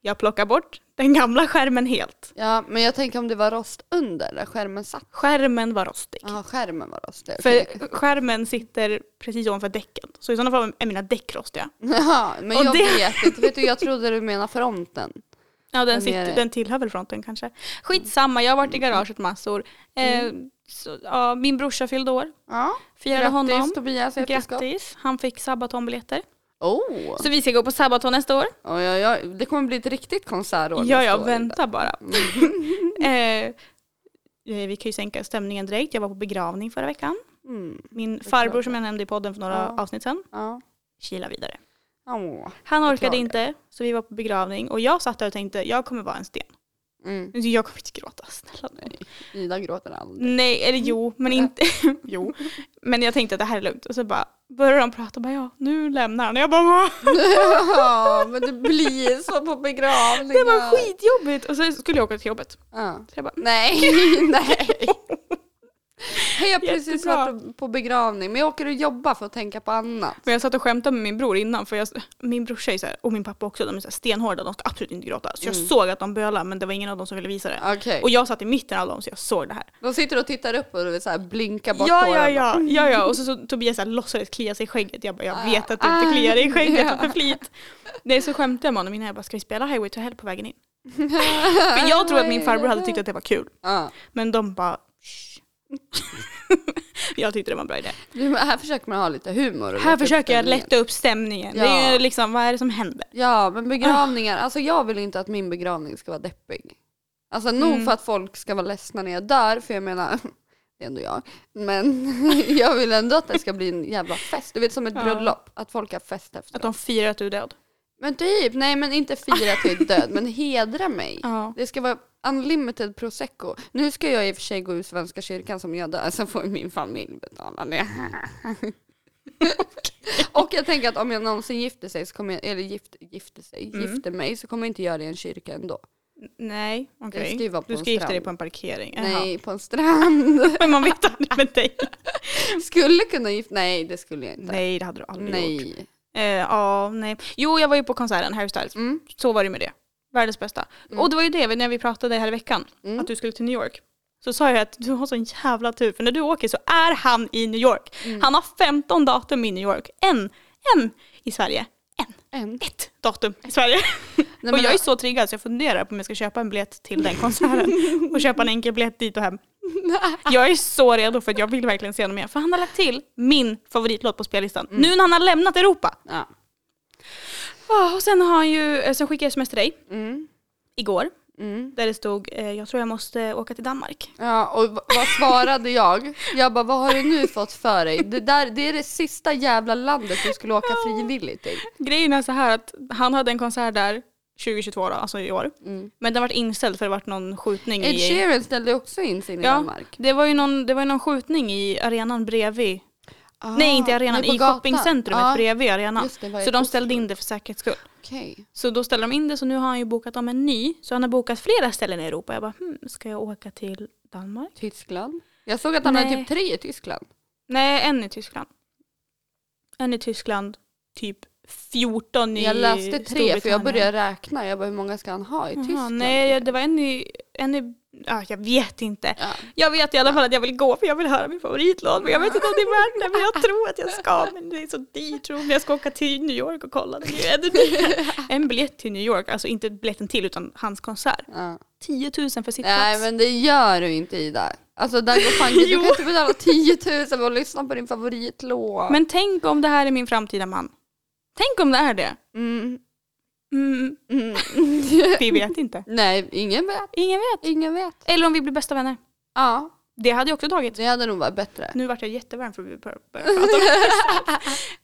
[SPEAKER 1] Jag plockar bort den gamla skärmen helt.
[SPEAKER 2] Ja, men jag tänker om det var rost under där skärmen satt.
[SPEAKER 1] Skärmen var rostig.
[SPEAKER 2] Ja, skärmen var rostig. Ah, okej.
[SPEAKER 1] För skärmen sitter precis ovanför däcken. Så i sådana fall är mina däck rostiga.
[SPEAKER 2] Jaha, men
[SPEAKER 1] Och
[SPEAKER 2] jag
[SPEAKER 1] det-
[SPEAKER 2] vet inte. Vet du, jag trodde du menade fronten.
[SPEAKER 1] Ja, den,
[SPEAKER 2] Den är- Mm.
[SPEAKER 1] sitter, den tillhör väl fronten kanske. Skitsamma, jag har varit i garaget massor. Eh, så, ja, min brorsa fyllde år.
[SPEAKER 2] Ja,
[SPEAKER 1] Firade
[SPEAKER 2] Mm. grattis
[SPEAKER 1] honom.
[SPEAKER 2] Tobias äktenskap.
[SPEAKER 1] Grattis. Han fick Sabaton-biljetter.
[SPEAKER 2] Oh,
[SPEAKER 1] Så vi ska gå på Sabaton nästa år.
[SPEAKER 2] oj, oj, oj. det kommer bli ett riktigt konsertår
[SPEAKER 1] Ja,
[SPEAKER 2] nästa
[SPEAKER 1] ja,
[SPEAKER 2] år. Mm.
[SPEAKER 1] vänta bara. eh, vi kan ju sänka stämningen direkt. Jag var på begravning förra veckan.
[SPEAKER 2] Mm.
[SPEAKER 1] Min
[SPEAKER 2] klart.
[SPEAKER 1] farbror som jag nämnde i podden för några
[SPEAKER 2] Ja.
[SPEAKER 1] avsnitt sedan
[SPEAKER 2] Ja.
[SPEAKER 1] kila vidare.
[SPEAKER 2] Åh.
[SPEAKER 1] Han orkade
[SPEAKER 2] Beklagar.
[SPEAKER 1] inte så vi var på begravning och jag satt där och tänkte jag kommer vara en sten.
[SPEAKER 2] Mm.
[SPEAKER 1] Så Jag kommer inte gråta, snälla nu.
[SPEAKER 2] Ida gråter aldrig.
[SPEAKER 1] Nej, eller jo, men inte. jo. Men jag tänkte att det här är lugnt och så bara började de prata och bara ja, nu lämnar han. Och jag bara va?
[SPEAKER 2] ja, men det blir så på begravningar.
[SPEAKER 1] Det var skitjobbigt. Och så skulle jag åka till jobbet.
[SPEAKER 2] Ja.
[SPEAKER 1] Så jag bara,
[SPEAKER 2] Nej, nej. Jag har precis
[SPEAKER 1] Jättebra.
[SPEAKER 2] varit på begravning, men jag åker och jobbar för att tänka på annat.
[SPEAKER 1] men jag satt och skämtade med min bror innan för jag, min brorsa är så här, och min pappa också, de är så här stenhårda, de ska absolut inte gråta. Så jag såg att de bölade men det var ingen av dem som ville visa det.
[SPEAKER 2] Okej,
[SPEAKER 1] Och jag satt i mitten av dem så jag såg det här.
[SPEAKER 2] de sitter och tittar upp och du vet, så här, blinkar bort
[SPEAKER 1] Ja, ja,
[SPEAKER 2] tårarna.
[SPEAKER 1] ja, ja, ja. Och så, så Tobias så här, låtsades klia sig i skägget. Jag bara, jag vet att du
[SPEAKER 2] Ah.
[SPEAKER 1] inte kliar dig i
[SPEAKER 2] Ja.
[SPEAKER 1] skägget för flit. Nej, så skämtade jag med honom innan. Jag bara, ska vi spela Highway to Hell på vägen in? För jag tror att min farbror hade tyckt att det var kul.
[SPEAKER 2] Ja.
[SPEAKER 1] Men de bara, "Shh." Jag tyckte det var en bra idé.
[SPEAKER 2] Nu, här försöker man ha lite humor. och
[SPEAKER 1] Här
[SPEAKER 2] lätta
[SPEAKER 1] försöker jag
[SPEAKER 2] stämningen.
[SPEAKER 1] lätta upp stämningen.
[SPEAKER 2] Ja.
[SPEAKER 1] Det är ju liksom, vad är det som händer?
[SPEAKER 2] Ja,
[SPEAKER 1] Ah.
[SPEAKER 2] men begravningar. Alltså jag vill inte att min begravning ska vara deppig. Alltså nog
[SPEAKER 1] Mm.
[SPEAKER 2] för att folk ska vara ledsna när jag dör, för jag menar, det är ändå jag. Men jag vill ändå att det ska bli en jävla fest. Du vet som ett
[SPEAKER 1] Ja.
[SPEAKER 2] bröllop, att folk har fest efter.
[SPEAKER 1] Att de firar att du är död.
[SPEAKER 2] Men typ, nej men inte fira till död, men hedra mig.
[SPEAKER 1] Ja.
[SPEAKER 2] Det ska vara unlimited prosecco. Nu ska jag i och för sig gå ur Svenska kyrkan som jag dör, så får ju min familj betala det. och jag tänker att om jag någonsin gifter sig, så kommer jag, eller gift, gifter sig,
[SPEAKER 1] Mm.
[SPEAKER 2] gifter mig, så kommer jag inte göra det i en kyrka ändå.
[SPEAKER 1] Nej, okej.
[SPEAKER 2] ska ju vara på
[SPEAKER 1] Du
[SPEAKER 2] en
[SPEAKER 1] ska gifta dig
[SPEAKER 2] strand.
[SPEAKER 1] på en parkering. Nej.
[SPEAKER 2] Nej, på en strand.
[SPEAKER 1] Men man vet aldrig med dig.
[SPEAKER 2] skulle kunna gifta, nej det skulle jag inte.
[SPEAKER 1] Nej, det hade du aldrig gjort. Eh,
[SPEAKER 2] Nej.
[SPEAKER 1] ja, nej. Jo, jag var ju på konserten, Harry Styles.
[SPEAKER 2] Mm.
[SPEAKER 1] Så var det med det. Världens bästa. Och det var ju det, när vi pratade här i veckan,
[SPEAKER 2] Mm.
[SPEAKER 1] att du skulle till New York. Så sa jag att du har sån jävla tur, för när du åker så är han i New York.
[SPEAKER 2] Mm.
[SPEAKER 1] Han har 15 datum i New York. En, en i Sverige. En,
[SPEAKER 2] En.
[SPEAKER 1] ett datum i Sverige.
[SPEAKER 2] Nej,
[SPEAKER 1] och
[SPEAKER 2] men
[SPEAKER 1] jag är så triggad så jag funderar på om jag ska köpa en biljett till den konserten. och köpa en enkel biljett dit och hem. Jag är så redo för att jag vill verkligen se honom igen. För han har lagt till min favoritlåt på spellistan.
[SPEAKER 2] Mm.
[SPEAKER 1] Nu när han har lämnat Europa.
[SPEAKER 2] Ja.
[SPEAKER 1] Ja, och sen har han ju, eh, sen skickade jag sms till dig
[SPEAKER 2] Mm.
[SPEAKER 1] igår.
[SPEAKER 2] Mm.
[SPEAKER 1] Där det stod, eh, jag tror jag måste åka till Danmark.
[SPEAKER 2] Ja, och v- vad svarade jag? Jag bara, vad har du nu fått för dig? Det, där, det är det sista jävla landet du skulle åka frivilligt till.
[SPEAKER 1] Grejen är så här att han hade en konsert där 2022 då, alltså i år.
[SPEAKER 2] Mm.
[SPEAKER 1] Men den vart inställd för det vart någon skjutning
[SPEAKER 2] Ed
[SPEAKER 1] i...
[SPEAKER 2] Sheeran ställde också in sin i
[SPEAKER 1] Ja.
[SPEAKER 2] Danmark.
[SPEAKER 1] Det var, ju någon, det var ju någon skjutning i arenan bredvid. Nej inte i arenan,
[SPEAKER 2] Ah, nej, på
[SPEAKER 1] i
[SPEAKER 2] gatan.
[SPEAKER 1] shoppingcentrumet
[SPEAKER 2] Ja.
[SPEAKER 1] bredvid arenan.
[SPEAKER 2] Just det, var i
[SPEAKER 1] Så de
[SPEAKER 2] Oslo.
[SPEAKER 1] ställde in det för säkerhets skull.
[SPEAKER 2] Okej.
[SPEAKER 1] Så då ställde de in det så nu har han ju bokat om en ny. Så han har bokat flera ställen i Europa. Jag bara, hmm, ska jag åka till Danmark?
[SPEAKER 2] Tyskland. Jag såg att han hade
[SPEAKER 1] Nej.
[SPEAKER 2] typ tre i Tyskland.
[SPEAKER 1] Nej, en i Tyskland. En i Tyskland, typ 14 i
[SPEAKER 2] jag läste tre för jag
[SPEAKER 1] Storbritannien.
[SPEAKER 2] började räkna. Jag bara, hur många ska han ha i
[SPEAKER 1] Jaha,
[SPEAKER 2] Tyskland?
[SPEAKER 1] Nej, det var en i... En i ah, jag vet inte.
[SPEAKER 2] Ja.
[SPEAKER 1] Jag vet i alla fall att jag vill gå för jag vill höra min favoritlåt. Men jag vet inte om det är värt det. Men jag tror att jag ska. Men det är så dyrt. Tror jag. jag ska åka till New York och kolla. Det blir ju ännu dyrare. En biljett till New York, alltså inte biljetten till utan hans konsert.
[SPEAKER 2] Ja.
[SPEAKER 1] 10 000 för sitt
[SPEAKER 2] Nej
[SPEAKER 1] plats.
[SPEAKER 2] men det gör du inte Ida. Alltså där går fan, du
[SPEAKER 1] Jo.
[SPEAKER 2] kan inte betala 10 000 för att lyssna på din favoritlåt.
[SPEAKER 1] Men tänk om det här är min framtida man. Tänk om det är det.
[SPEAKER 2] Mm.
[SPEAKER 1] Mm,
[SPEAKER 2] Mm.
[SPEAKER 1] vi vet inte.
[SPEAKER 2] Nej, ingen vet.
[SPEAKER 1] Ingen vet.
[SPEAKER 2] Ingen vet.
[SPEAKER 1] Eller om vi blir bästa vänner.
[SPEAKER 2] Ja,
[SPEAKER 1] Det hade jag också tagit.
[SPEAKER 2] det hade nog varit bättre.
[SPEAKER 1] Nu vart jag jättevarm för att vi bör- började prata om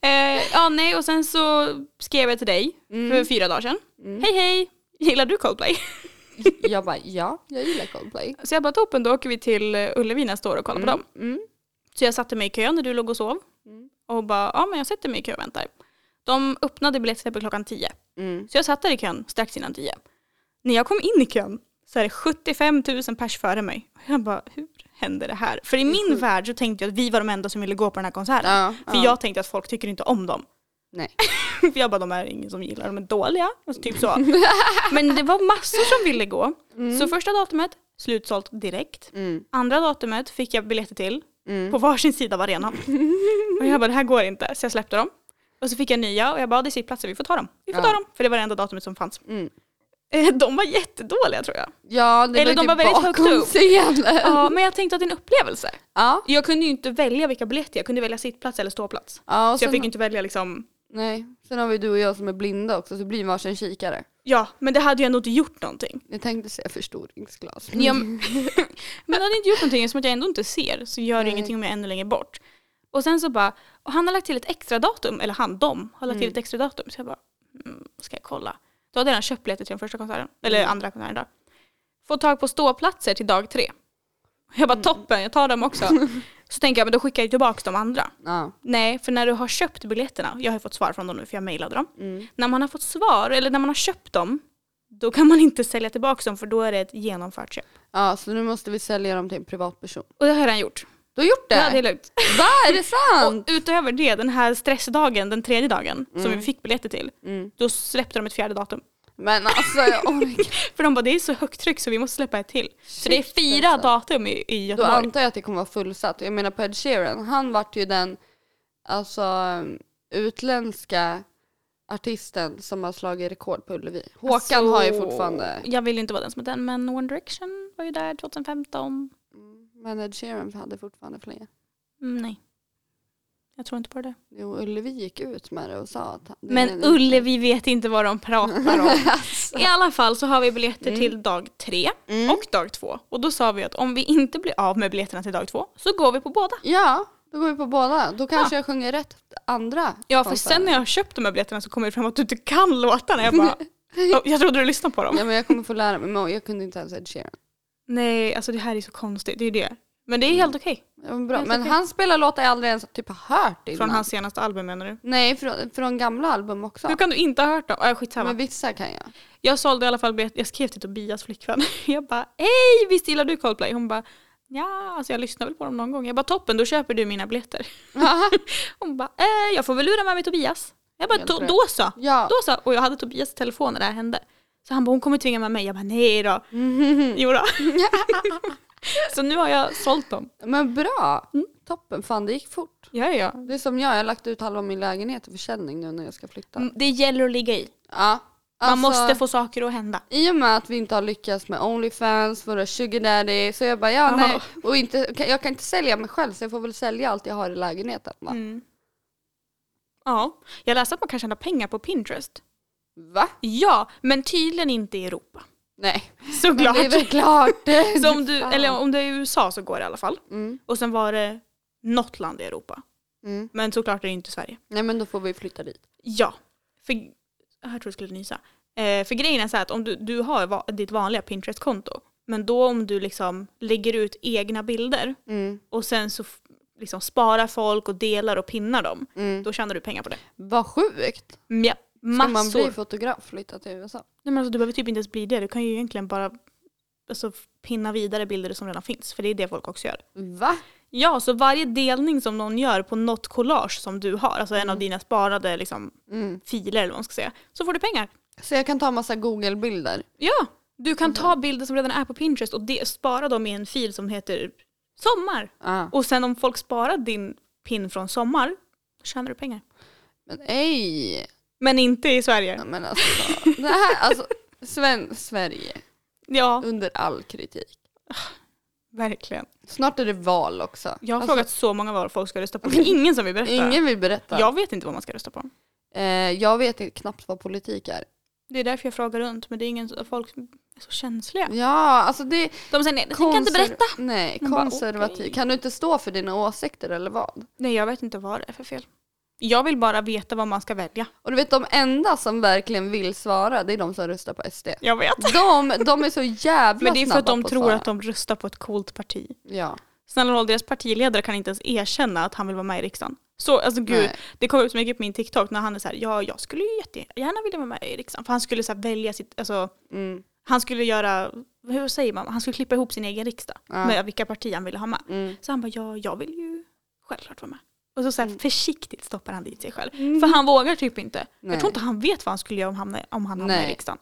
[SPEAKER 1] det. eh, Ja, nej, och sen så skrev jag till dig för fyra dagar sedan. Hej, hej! Gillar du Coldplay?
[SPEAKER 2] Jag bara, ja, jag gillar Coldplay.
[SPEAKER 1] Så jag bara, toppen, då åker vi till eh, Ullevi nästa år och kollar på dem.
[SPEAKER 2] Mm.
[SPEAKER 1] Så jag satte mig i kö när du låg och sov. Och bara, ja men jag sätter mig i kö och väntar. De öppnade biljettsläppet klockan 10.
[SPEAKER 2] Mm.
[SPEAKER 1] Så jag satt där i kön strax innan 10. När jag kom in i kön så är det 75 000 pers före mig. Och jag bara, hur händer det här? För i min värld så tänkte jag att vi var de enda som ville gå på den här konserten.
[SPEAKER 2] Ja,
[SPEAKER 1] För
[SPEAKER 2] ja.
[SPEAKER 1] jag tänkte att folk tycker inte om dem.
[SPEAKER 2] Nej.
[SPEAKER 1] För jag bara, de är ingen som gillar, de är dåliga. Alltså, typ så. Men det var massor som ville gå. Så första datumet, slutsålt direkt.
[SPEAKER 2] Mm,
[SPEAKER 1] Andra datumet fick jag biljetter till,
[SPEAKER 2] mm.
[SPEAKER 1] på varsin sida av arenan. Och jag bara, det här går inte. Så jag släppte dem. Och så fick jag nya och jag bara, det är sittplatser, vi får ta dem. Vi får
[SPEAKER 2] Ja.
[SPEAKER 1] ta dem. För det var det enda datumet som fanns.
[SPEAKER 2] Mm.
[SPEAKER 1] Eh, De var jättedåliga tror jag.
[SPEAKER 2] Ja, det
[SPEAKER 1] Eller
[SPEAKER 2] var
[SPEAKER 1] de
[SPEAKER 2] ju
[SPEAKER 1] var
[SPEAKER 2] typ
[SPEAKER 1] väldigt högt
[SPEAKER 2] bakom
[SPEAKER 1] upp.
[SPEAKER 2] scenen.
[SPEAKER 1] Ja, men jag tänkte att det är en upplevelse.
[SPEAKER 2] Ja.
[SPEAKER 1] Jag kunde ju inte välja vilka biljetter, jag kunde välja sittplats eller ståplats.
[SPEAKER 2] ja och
[SPEAKER 1] Så jag
[SPEAKER 2] sen,
[SPEAKER 1] fick ju inte välja liksom,
[SPEAKER 2] nej. sen har vi du och jag som är blinda också, så det blir varsin kikare.
[SPEAKER 1] ja men det hade ju ändå inte gjort någonting.
[SPEAKER 2] Jag tänkte säga förstoringsglas.
[SPEAKER 1] Ja, men men det hade inte gjort någonting som att jag ändå inte ser så gör det
[SPEAKER 2] Mm. Nej.
[SPEAKER 1] ingenting om jag är ännu längre bort. Och sen så bara, och han har lagt till ett extra datum, eller han, de har
[SPEAKER 2] Mm.
[SPEAKER 1] lagt till ett extra datum. Så jag bara, mm, ska jag kolla? Då hade jag redan köpt biljetter till den första konserten,
[SPEAKER 2] Mm.
[SPEAKER 1] eller andra konserten där. Få tag på ståplatser till dag tre. Jag
[SPEAKER 2] Mm.
[SPEAKER 1] bara toppen, jag tar dem också. Så tänker jag, men då skickar jag tillbaka de andra.
[SPEAKER 2] Ja.
[SPEAKER 1] Nej, för när du har köpt biljetterna, jag har ju fått svar från dem nu för jag mejlade dem.
[SPEAKER 2] Mm.
[SPEAKER 1] När man har fått svar, eller när man har köpt dem, då kan man inte sälja tillbaka dem för då är det ett genomfört köp.
[SPEAKER 2] ja, så nu måste vi sälja dem till en privatperson.
[SPEAKER 1] Och det har jag redan gjort.
[SPEAKER 2] Du har gjort det?
[SPEAKER 1] Ja, det är lugnt.
[SPEAKER 2] Va, är det sant?
[SPEAKER 1] Och utöver det, den här stressdagen, den tredje dagen, som vi fick biljetter till,
[SPEAKER 2] Mm.
[SPEAKER 1] då släppte de ett fjärde datum.
[SPEAKER 2] Men alltså jag orkar
[SPEAKER 1] För de bara, det är så högt tryck så vi måste släppa ett till. Så det är
[SPEAKER 2] Shit,
[SPEAKER 1] fyra
[SPEAKER 2] alltså.
[SPEAKER 1] datum i, i
[SPEAKER 2] Då
[SPEAKER 1] Göteborg.
[SPEAKER 2] antar jag att det kommer vara fullsatt. Jag menar på Ed Sheeran, han vart ju den alltså, utländska artisten som har slagit rekord på Ullevi. Håkan har ju
[SPEAKER 1] Så-
[SPEAKER 2] fortfarande,
[SPEAKER 1] Alltså, Jag vill ju inte vara den som är den, men One Direction var ju där 2015.
[SPEAKER 2] men Ed Sheeran hade fortfarande fler.
[SPEAKER 1] Mm, nej. Jag tror inte på det.
[SPEAKER 2] Jo, Ullevi gick ut med det och sa att han, det är
[SPEAKER 1] Men
[SPEAKER 2] en-
[SPEAKER 1] Ulle, vi vet inte vad de pratar om.
[SPEAKER 2] Alltså.
[SPEAKER 1] I alla fall så har vi biljetter till dag tre
[SPEAKER 2] Mm.
[SPEAKER 1] och dag två. Och då sa vi att om vi inte blir av med biljetterna till dag två så går vi på båda.
[SPEAKER 2] Ja, då går vi på båda. Då kanske jag sjunger rätt andra
[SPEAKER 1] Ah. Ja för
[SPEAKER 2] konserter.
[SPEAKER 1] sen när jag har köpt de här biljetterna så kommer det fram att du inte kan låtarna. Jag bara, "Ja, jag trodde du lyssnade på dem.
[SPEAKER 2] Ja, men jag kommer få lära mig. Men jag kunde inte ens Ed Sheeran.
[SPEAKER 1] Nej alltså det här är så konstigt, det är ju det. Men det är helt okej.
[SPEAKER 2] Det var bra.
[SPEAKER 1] Helt
[SPEAKER 2] Men
[SPEAKER 1] okej.
[SPEAKER 2] han spelar låtar jag aldrig ens typ har hört innan.
[SPEAKER 1] Från hans senaste album menar du?
[SPEAKER 2] Nej, från, från gamla album också.
[SPEAKER 1] Hur kan du inte ha hört dem? Äh, skitsamma.
[SPEAKER 2] Men vissa kan jag.
[SPEAKER 1] Jag sålde i alla fall biljetter, jag skrev till Tobias flickvän. Jag bara hej visst gillar du Coldplay? Hon bara ja alltså jag lyssnar väl på dem någon gång. Jag bara toppen då köper du mina biljetter. Hon bara eh, jag får väl lura med mig Tobias. Jag bara
[SPEAKER 2] Helt
[SPEAKER 1] "Då-
[SPEAKER 2] rätt.
[SPEAKER 1] då så.
[SPEAKER 2] ja.
[SPEAKER 1] Då så. Och jag hade Tobias telefon när det här hände. Så han bara hon kommer tvinga med mig. Jag bara nej då. Jo då. så nu har jag sålt dem.
[SPEAKER 2] Men bra.
[SPEAKER 1] Mm.
[SPEAKER 2] Toppen. Fan, det gick fort.
[SPEAKER 1] Ja ja.
[SPEAKER 2] Det är som jag, jag har lagt ut halva min lägenhet i försäljning nu när jag ska flytta.
[SPEAKER 1] Mm, Det gäller att ligga i.
[SPEAKER 2] Ja.
[SPEAKER 1] Man
[SPEAKER 2] Alltså,
[SPEAKER 1] måste få saker att hända.
[SPEAKER 2] I och med att vi inte har lyckats med Onlyfans, våra sugar daddy, så jag bara ja
[SPEAKER 1] Ja.
[SPEAKER 2] nej. Och inte, jag kan inte sälja mig själv så jag får väl sälja allt jag har i lägenheten. Va?
[SPEAKER 1] Mm. Ja. Jag läste att man kan tjäna pengar på Pinterest.
[SPEAKER 2] Va?
[SPEAKER 1] Ja, men tydligen inte i Europa.
[SPEAKER 2] Nej.
[SPEAKER 1] Såklart.
[SPEAKER 2] Men det är väl klart.
[SPEAKER 1] Så om du,
[SPEAKER 2] Fan.
[SPEAKER 1] eller om det är i USA så går det i alla fall.
[SPEAKER 2] Mm,
[SPEAKER 1] Och sen var det något land i Europa.
[SPEAKER 2] mm.
[SPEAKER 1] Men såklart är det inte Sverige.
[SPEAKER 2] Nej men då får vi flytta dit.
[SPEAKER 1] Ja. För, jag tror jag skulle nysa. Eh, för grejen är så här att om du, du har va, ditt vanliga Pinterest-konto. Men då om du liksom lägger ut egna bilder
[SPEAKER 2] Mm,
[SPEAKER 1] och sen så f- liksom sparar folk och delar och pinnar dem.
[SPEAKER 2] mm.
[SPEAKER 1] Då tjänar du pengar på det.
[SPEAKER 2] Vad sjukt.
[SPEAKER 1] Mm, ja.
[SPEAKER 2] Ska man
[SPEAKER 1] Massor.
[SPEAKER 2] bli fotograf och flytta till USA?
[SPEAKER 1] Nej, men alltså, du behöver typ inte ens bli det. Du kan ju egentligen bara alltså, pinna vidare bilder som redan finns. För det är det folk också gör.
[SPEAKER 2] Va?
[SPEAKER 1] Ja, så varje delning som någon gör på något collage som du har, alltså en av dina sparade liksom,
[SPEAKER 2] Mm.
[SPEAKER 1] filer eller vad man ska säga, så får du pengar.
[SPEAKER 2] Så jag kan ta massa google-bilder?
[SPEAKER 1] Ja, du kan ta bilder som redan är på Pinterest och de- spara dem i en fil som heter sommar.
[SPEAKER 2] Ja.
[SPEAKER 1] Och sen om folk sparar din pin från sommar, då tjänar du pengar.
[SPEAKER 2] Men ej!
[SPEAKER 1] Men inte i Sverige.
[SPEAKER 2] Ja, Men alltså, det här, alltså Sven, Sverige
[SPEAKER 1] Ja,
[SPEAKER 2] under all kritik.
[SPEAKER 1] verkligen.
[SPEAKER 2] Snart är det val också.
[SPEAKER 1] Jag har
[SPEAKER 2] alltså,
[SPEAKER 1] frågat så många vad folk ska rösta på, det är ingen som vill berätta.
[SPEAKER 2] Ingen vill berätta.
[SPEAKER 1] Jag vet inte vad man ska rösta på.
[SPEAKER 2] Eh, jag vet inte knappt vad politik är.
[SPEAKER 1] Det är därför jag frågar runt, men det är ingen, folk är så känsliga.
[SPEAKER 2] Ja, alltså det...
[SPEAKER 1] De säger nej, jag tänker inte
[SPEAKER 2] konser-
[SPEAKER 1] berätta.
[SPEAKER 2] Nej,
[SPEAKER 1] Man bara,
[SPEAKER 2] konservativ.
[SPEAKER 1] okej.
[SPEAKER 2] Kan du inte stå för dina åsikter eller vad?
[SPEAKER 1] Nej, jag vet inte vad det är för fel. Jag vill bara veta vad man ska välja.
[SPEAKER 2] Och du vet de enda som verkligen vill svara, det är de som röstar på SD.
[SPEAKER 1] Jag vet.
[SPEAKER 2] De, de är så jävla
[SPEAKER 1] Men det är för att
[SPEAKER 2] snabba
[SPEAKER 1] de
[SPEAKER 2] på
[SPEAKER 1] tror
[SPEAKER 2] svara.
[SPEAKER 1] att de röstar på ett coolt parti.
[SPEAKER 2] Ja.
[SPEAKER 1] Snälla nån, deras partiledare kan inte ens erkänna att han vill vara med i riksdagen. Så, alltså gud,
[SPEAKER 2] Nej.
[SPEAKER 1] det kom upp så mycket på min TikTok när han är så här, ja jag skulle ju jättegärna vilja vara med i riksdagen. För han skulle så här välja sitt, alltså
[SPEAKER 2] Mm.
[SPEAKER 1] han skulle göra hur säger man, han skulle klippa ihop sin egen riksdag
[SPEAKER 2] Ja.
[SPEAKER 1] med vilka partier han ville ha med.
[SPEAKER 2] Mm.
[SPEAKER 1] Så han bara, ja jag vill ju självklart vara med. Och så, så här,
[SPEAKER 2] Mm.
[SPEAKER 1] försiktigt stoppar han dit sig själv. För han vågar typ inte.
[SPEAKER 2] Nej.
[SPEAKER 1] Jag tror inte han vet vad han skulle göra om, hamna, om han hamnade
[SPEAKER 2] Nej.
[SPEAKER 1] i riksdagen.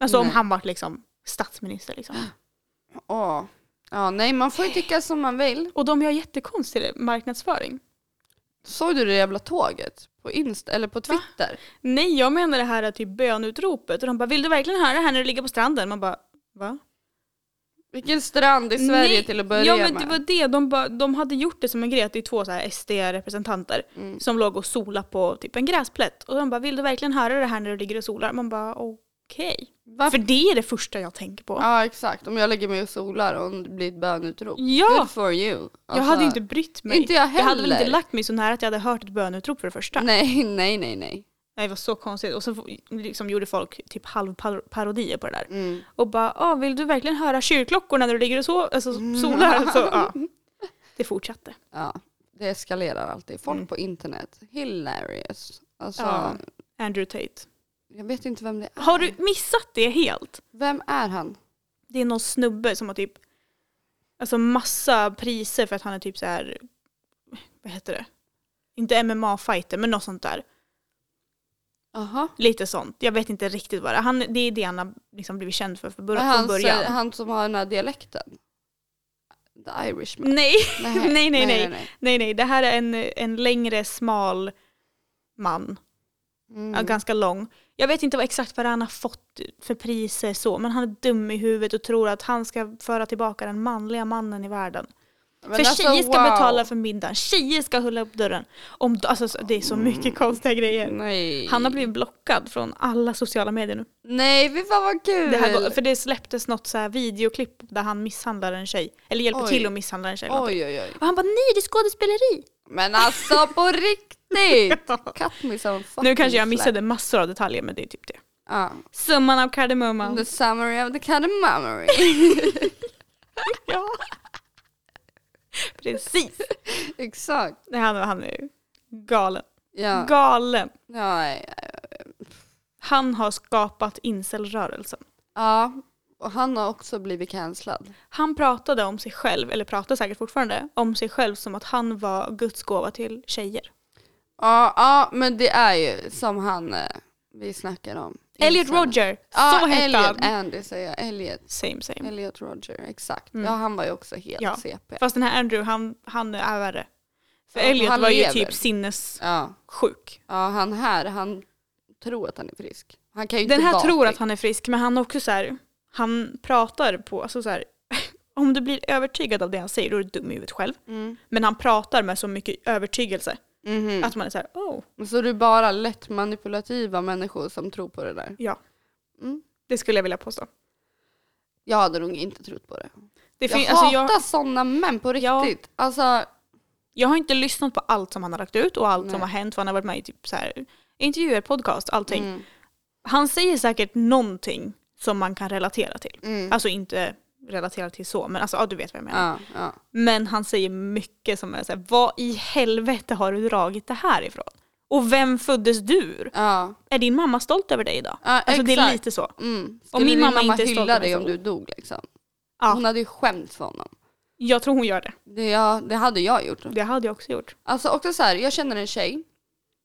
[SPEAKER 1] Alltså om
[SPEAKER 2] Nej.
[SPEAKER 1] han var liksom statsminister liksom.
[SPEAKER 2] Åh. Ja, nej, man får ju tycka som man vill.
[SPEAKER 1] Och de gör jättekonstig marknadsföring.
[SPEAKER 2] Såg du det jävla tåget? På Insta, eller på Twitter?
[SPEAKER 1] Nej jag menar det här typ bönutropet och de bara vill du verkligen höra det här när du ligger på stranden? Man bara va?
[SPEAKER 2] Vilken strand i Sverige
[SPEAKER 1] Nej,
[SPEAKER 2] till att börja
[SPEAKER 1] Ja men det
[SPEAKER 2] med.
[SPEAKER 1] var det, de, bara, de hade gjort det som en grej att det är två så här SD-representanter
[SPEAKER 2] Mm.
[SPEAKER 1] som låg och sola på typ en gräsplätt och de bara vill du verkligen höra det här när du ligger och solar? Man bara okej.
[SPEAKER 2] Varför?
[SPEAKER 1] För det är det första jag tänker på.
[SPEAKER 2] Ja, exakt. Om jag lägger mig och solar och det blir ett bönutrop.
[SPEAKER 1] Ja!
[SPEAKER 2] Good for you. Alltså,
[SPEAKER 1] Jag hade ju inte brytt mig.
[SPEAKER 2] Inte jag heller.
[SPEAKER 1] Jag hade väl inte lagt mig så nära att jag hade hört ett bönutrop för det första. Nej,
[SPEAKER 2] Nej, nej, nej, nej.
[SPEAKER 1] det var så konstigt. Och så f- liksom gjorde folk typ halvparodier på det där.
[SPEAKER 2] Mm.
[SPEAKER 1] Och bara, ah, vill du verkligen höra kyrklockorna när du ligger och so alltså, solar? Så, ja. Det fortsatte.
[SPEAKER 2] Ja, det eskalerar alltid. Folk
[SPEAKER 1] Mm.
[SPEAKER 2] på internet, hilarious. Alltså,
[SPEAKER 1] Ja. Andrew Tate.
[SPEAKER 2] jag vet inte vem det är.
[SPEAKER 1] Har du missat det helt?
[SPEAKER 2] Vem är han?
[SPEAKER 1] Det är någon snubbe som har typ alltså massa priser för att han är typ så här. vad heter det? Inte MMA-fighter men något sånt där.
[SPEAKER 2] Aha.
[SPEAKER 1] Lite sånt. Jag vet inte riktigt vad det är. Han, det är det han har liksom blivit känd för från bör-
[SPEAKER 2] Är
[SPEAKER 1] från
[SPEAKER 2] han,
[SPEAKER 1] början.
[SPEAKER 2] så- han som har den här dialekten? The Irishman.
[SPEAKER 1] Nej,
[SPEAKER 2] Nej,
[SPEAKER 1] Mm, nej, nej. nej, nej. Det här är en, en längre smal man.
[SPEAKER 2] Mm.
[SPEAKER 1] Ja, ganska lång. Jag vet inte vad exakt vad han har fått för priser så, men han är dum i huvudet och tror att han ska föra tillbaka den manliga mannen i världen.
[SPEAKER 2] Men
[SPEAKER 1] för
[SPEAKER 2] alltså,
[SPEAKER 1] tjejer ska
[SPEAKER 2] wow.
[SPEAKER 1] betala för middagen, tjejer ska hålla upp dörren. Om, alltså, så- det är
[SPEAKER 2] Mm.
[SPEAKER 1] så mycket konstiga grejer.
[SPEAKER 2] Nej.
[SPEAKER 1] Han har blivit blockad från alla sociala medier nu.
[SPEAKER 2] Nej, vi fan vad kul!
[SPEAKER 1] Det här går, för det släpptes något så här videoklipp där han misshandlar en tjej, eller hjälper
[SPEAKER 2] Oj.
[SPEAKER 1] till att misshandla en tjej. eller någonting.
[SPEAKER 2] Oj, oj, oj.
[SPEAKER 1] Och han bara nej, det är skådespeleri!
[SPEAKER 2] Men alltså på riktigt! Cut me some fucking
[SPEAKER 1] Nu kanske jag
[SPEAKER 2] slack.
[SPEAKER 1] missade massor av detaljer men det är typ det. Mm,
[SPEAKER 2] Ja.
[SPEAKER 1] Summan av kardemumman.
[SPEAKER 2] The summary of the cardamomary.
[SPEAKER 1] Ja. Precis.
[SPEAKER 2] Exakt.
[SPEAKER 1] Nej, han, han är galen.
[SPEAKER 2] Ja.
[SPEAKER 1] Galen.
[SPEAKER 2] Ja, ja,
[SPEAKER 1] Han har skapat incelrörelsen.
[SPEAKER 2] ja. Och han har också blivit cancellad.
[SPEAKER 1] Han pratade om sig själv, eller pratar säkert fortfarande, om sig själv som att han var Guds gåva till tjejer.
[SPEAKER 2] Ja, ja, men det är ju som han eh, vi snackar om.
[SPEAKER 1] Elliot
[SPEAKER 2] Insan.
[SPEAKER 1] Roger, så
[SPEAKER 2] Ja,
[SPEAKER 1] hette han.
[SPEAKER 2] Elliot Andy säger jag. Elliot.
[SPEAKER 1] Same same.
[SPEAKER 2] Elliot Roger, exakt.
[SPEAKER 1] Mm.
[SPEAKER 2] Ja, han var ju också helt
[SPEAKER 1] Ja.
[SPEAKER 2] CP.
[SPEAKER 1] Fast den här Andrew, han, han är värre. För
[SPEAKER 2] Ja,
[SPEAKER 1] Elliot
[SPEAKER 2] Alltså, han
[SPEAKER 1] var ju
[SPEAKER 2] lever.
[SPEAKER 1] typ sinnessjuk.
[SPEAKER 2] Ja. ja, han här, han tror att han är frisk. Han kan ju
[SPEAKER 1] Den
[SPEAKER 2] inte
[SPEAKER 1] här
[SPEAKER 2] vara
[SPEAKER 1] tror att
[SPEAKER 2] frisk.
[SPEAKER 1] han är frisk men han är också så här, han pratar på, alltså så här, om du blir övertygad av det han säger då är du dum i huvudet själv.
[SPEAKER 2] Mm.
[SPEAKER 1] Men han pratar med så mycket övertygelse
[SPEAKER 2] Mhm.
[SPEAKER 1] att man är så här, oh,
[SPEAKER 2] Så det är bara lätt manipulativa människor som tror på det där?
[SPEAKER 1] Ja.
[SPEAKER 2] Mm.
[SPEAKER 1] det skulle jag vilja påstå.
[SPEAKER 2] Jag hade nog inte trott på det.
[SPEAKER 1] Det
[SPEAKER 2] jag
[SPEAKER 1] fin- alltså,
[SPEAKER 2] hatar
[SPEAKER 1] jag,
[SPEAKER 2] sådana män på
[SPEAKER 1] Ja.
[SPEAKER 2] riktigt. Alltså,
[SPEAKER 1] jag har inte lyssnat på allt som han har lagt ut och allt
[SPEAKER 2] Nej.
[SPEAKER 1] som har hänt för han har varit med i typ så här, intervjuer, podcast, allting.
[SPEAKER 2] mm,
[SPEAKER 1] Han säger säkert någonting som man kan relatera till.
[SPEAKER 2] mm.
[SPEAKER 1] Alltså inte relatera till så men alltså ja, du vet vad jag menar.
[SPEAKER 2] ja, ja.
[SPEAKER 1] Men han säger mycket som är såhär, vad i helvete har du dragit det här ifrån? Och vem föddes du ur?
[SPEAKER 2] ja.
[SPEAKER 1] Är din mamma stolt över dig idag?
[SPEAKER 2] ja
[SPEAKER 1] Alltså det är
[SPEAKER 2] exakt.
[SPEAKER 1] lite så.
[SPEAKER 2] Mm. Skulle
[SPEAKER 1] min
[SPEAKER 2] din
[SPEAKER 1] mamma
[SPEAKER 2] mamma
[SPEAKER 1] inte är stolt
[SPEAKER 2] hylla
[SPEAKER 1] över
[SPEAKER 2] dig
[SPEAKER 1] så-
[SPEAKER 2] om du dog liksom?
[SPEAKER 1] Ja.
[SPEAKER 2] Hon hade ju skämt för honom.
[SPEAKER 1] Jag tror hon gör det.
[SPEAKER 2] Det, ja, det hade jag gjort.
[SPEAKER 1] Det hade jag också gjort.
[SPEAKER 2] Alltså också så här, jag känner en tjej,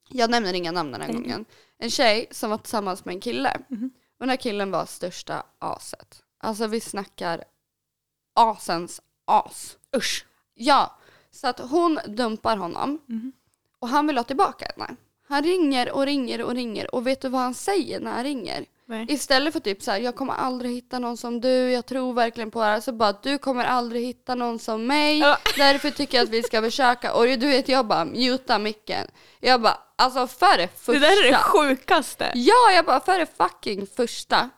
[SPEAKER 2] jag nämner inga namn den här
[SPEAKER 1] Nej.
[SPEAKER 2] gången, en tjej som var tillsammans med en kille.
[SPEAKER 1] Mm. Mhm.
[SPEAKER 2] Och den här killen var största aset. Alltså vi snackar asens as.
[SPEAKER 1] Usch.
[SPEAKER 2] Ja, så att hon dumpar honom
[SPEAKER 1] Mhm.
[SPEAKER 2] och han vill ha tillbaka henne. Han ringer och ringer och ringer och vet du vad han säger när han ringer?
[SPEAKER 1] Nej.
[SPEAKER 2] Istället för typ så här, jag kommer aldrig hitta någon som du, jag tror verkligen på det här. Så bara, du kommer aldrig hitta någon som mig.
[SPEAKER 1] Ja.
[SPEAKER 2] Därför tycker jag att vi ska försöka. Och du vet, jag bara, muta micken. Jag bara, alltså för det första.
[SPEAKER 1] Det där är det sjukaste.
[SPEAKER 2] Ja, jag bara, för det fucking första.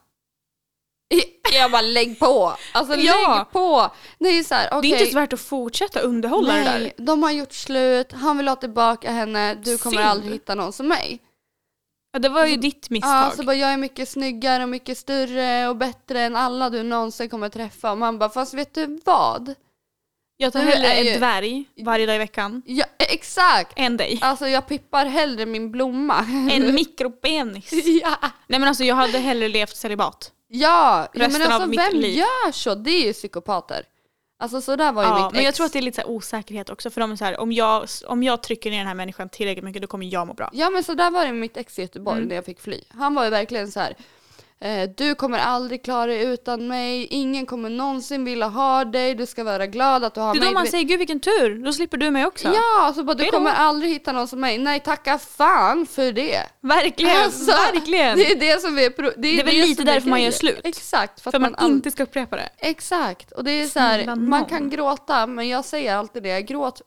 [SPEAKER 2] Jag bara, lägg på. Alltså
[SPEAKER 1] Ja.
[SPEAKER 2] lägg på. Det är ju så här, okej.
[SPEAKER 1] Det är inte så värt att fortsätta underhålla det där.
[SPEAKER 2] Nej, de har gjort slut, han vill ha tillbaka henne, du kommer
[SPEAKER 1] Synd.
[SPEAKER 2] aldrig hitta någon som mig.
[SPEAKER 1] Ja, det var ju ditt misstag.
[SPEAKER 2] Alltså, Ja, så bara jag är mycket snyggare och mycket större och bättre än alla du någonsin kommer träffa. Och man bara, fast vet du vad?
[SPEAKER 1] jag tar
[SPEAKER 2] du
[SPEAKER 1] hellre
[SPEAKER 2] är ju-
[SPEAKER 1] en dvärg varje dag i veckan
[SPEAKER 2] Ja, e, exakt!
[SPEAKER 1] än dig.
[SPEAKER 2] Alltså jag pippar hellre min blomma.
[SPEAKER 1] En mikropenis.
[SPEAKER 2] ja.
[SPEAKER 1] Nej men alltså jag hade hellre levt celibat.
[SPEAKER 2] Ja, ja men
[SPEAKER 1] Resten av
[SPEAKER 2] alltså
[SPEAKER 1] mitt
[SPEAKER 2] vem
[SPEAKER 1] liv.
[SPEAKER 2] gör så? Det är ju psykopater. Alltså så där var ju
[SPEAKER 1] Ja,
[SPEAKER 2] mitt
[SPEAKER 1] men jag
[SPEAKER 2] ex.
[SPEAKER 1] tror att det är lite så här osäkerhet också för de är så här, om jag, om jag trycker ner den här människan tillräckligt mycket då kommer jag må bra.
[SPEAKER 2] Ja men så där var det med mitt ex i Göteborg
[SPEAKER 1] Mm.
[SPEAKER 2] när jag fick fly. Han var ju verkligen så här. eh, Du kommer aldrig klara dig utan mig. Ingen kommer någonsin vilja ha dig. Du ska vara glad att du har
[SPEAKER 1] Det är
[SPEAKER 2] mig.
[SPEAKER 1] då man säger gud vilken tur, då slipper du mig också.
[SPEAKER 2] ja, så bara, du
[SPEAKER 1] Hej då.
[SPEAKER 2] kommer aldrig hitta någon som mig. Nej, tacka fan för det.
[SPEAKER 1] Verkligen,
[SPEAKER 2] Alltså,
[SPEAKER 1] verkligen.
[SPEAKER 2] Det är det som är pro-
[SPEAKER 1] Det är väl lite
[SPEAKER 2] som är
[SPEAKER 1] därför man gör
[SPEAKER 2] grejen.
[SPEAKER 1] slut.
[SPEAKER 2] Exakt. För,
[SPEAKER 1] för
[SPEAKER 2] att man,
[SPEAKER 1] man,
[SPEAKER 2] all-
[SPEAKER 1] inte ska upprepa det.
[SPEAKER 2] Exakt. Och det är så här,
[SPEAKER 1] Snälla
[SPEAKER 2] man
[SPEAKER 1] nån.
[SPEAKER 2] kan gråta men jag säger alltid det. Gråt,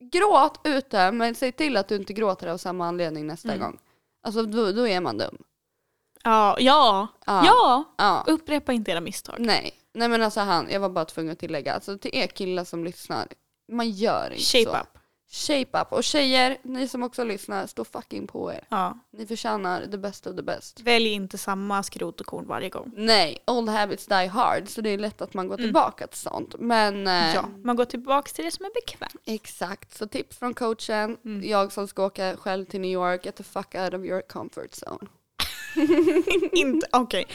[SPEAKER 2] gråt ute men säg till att du inte gråter av samma anledning nästa
[SPEAKER 1] Mm.
[SPEAKER 2] gång. Alltså då, då är man dum.
[SPEAKER 1] Ja, ja,
[SPEAKER 2] Ja.
[SPEAKER 1] ja.
[SPEAKER 2] Ja.
[SPEAKER 1] Upprepa inte era misstag.
[SPEAKER 2] Nej. Nej men alltså han, jag var bara tvungen att tillägga. Alltså till er killar som lyssnar, man gör inte
[SPEAKER 1] Shape
[SPEAKER 2] så.
[SPEAKER 1] up.
[SPEAKER 2] Shape up. Och tjejer, ni som också lyssnar, stå fucking på er.
[SPEAKER 1] Ja.
[SPEAKER 2] Ni förtjänar the best of the best.
[SPEAKER 1] Välj inte samma skrot och korn varje gång.
[SPEAKER 2] Nej, old habits die hard så det är lätt att man går tillbaka till sånt. Men eh,
[SPEAKER 1] Mm. Ja. Man går tillbaka till det som är bekvämt.
[SPEAKER 2] Exakt, så tips från coachen.
[SPEAKER 1] Mm.
[SPEAKER 2] Jag som ska åka själv till New York, get the fuck out of your comfort zone.
[SPEAKER 1] inte, okej.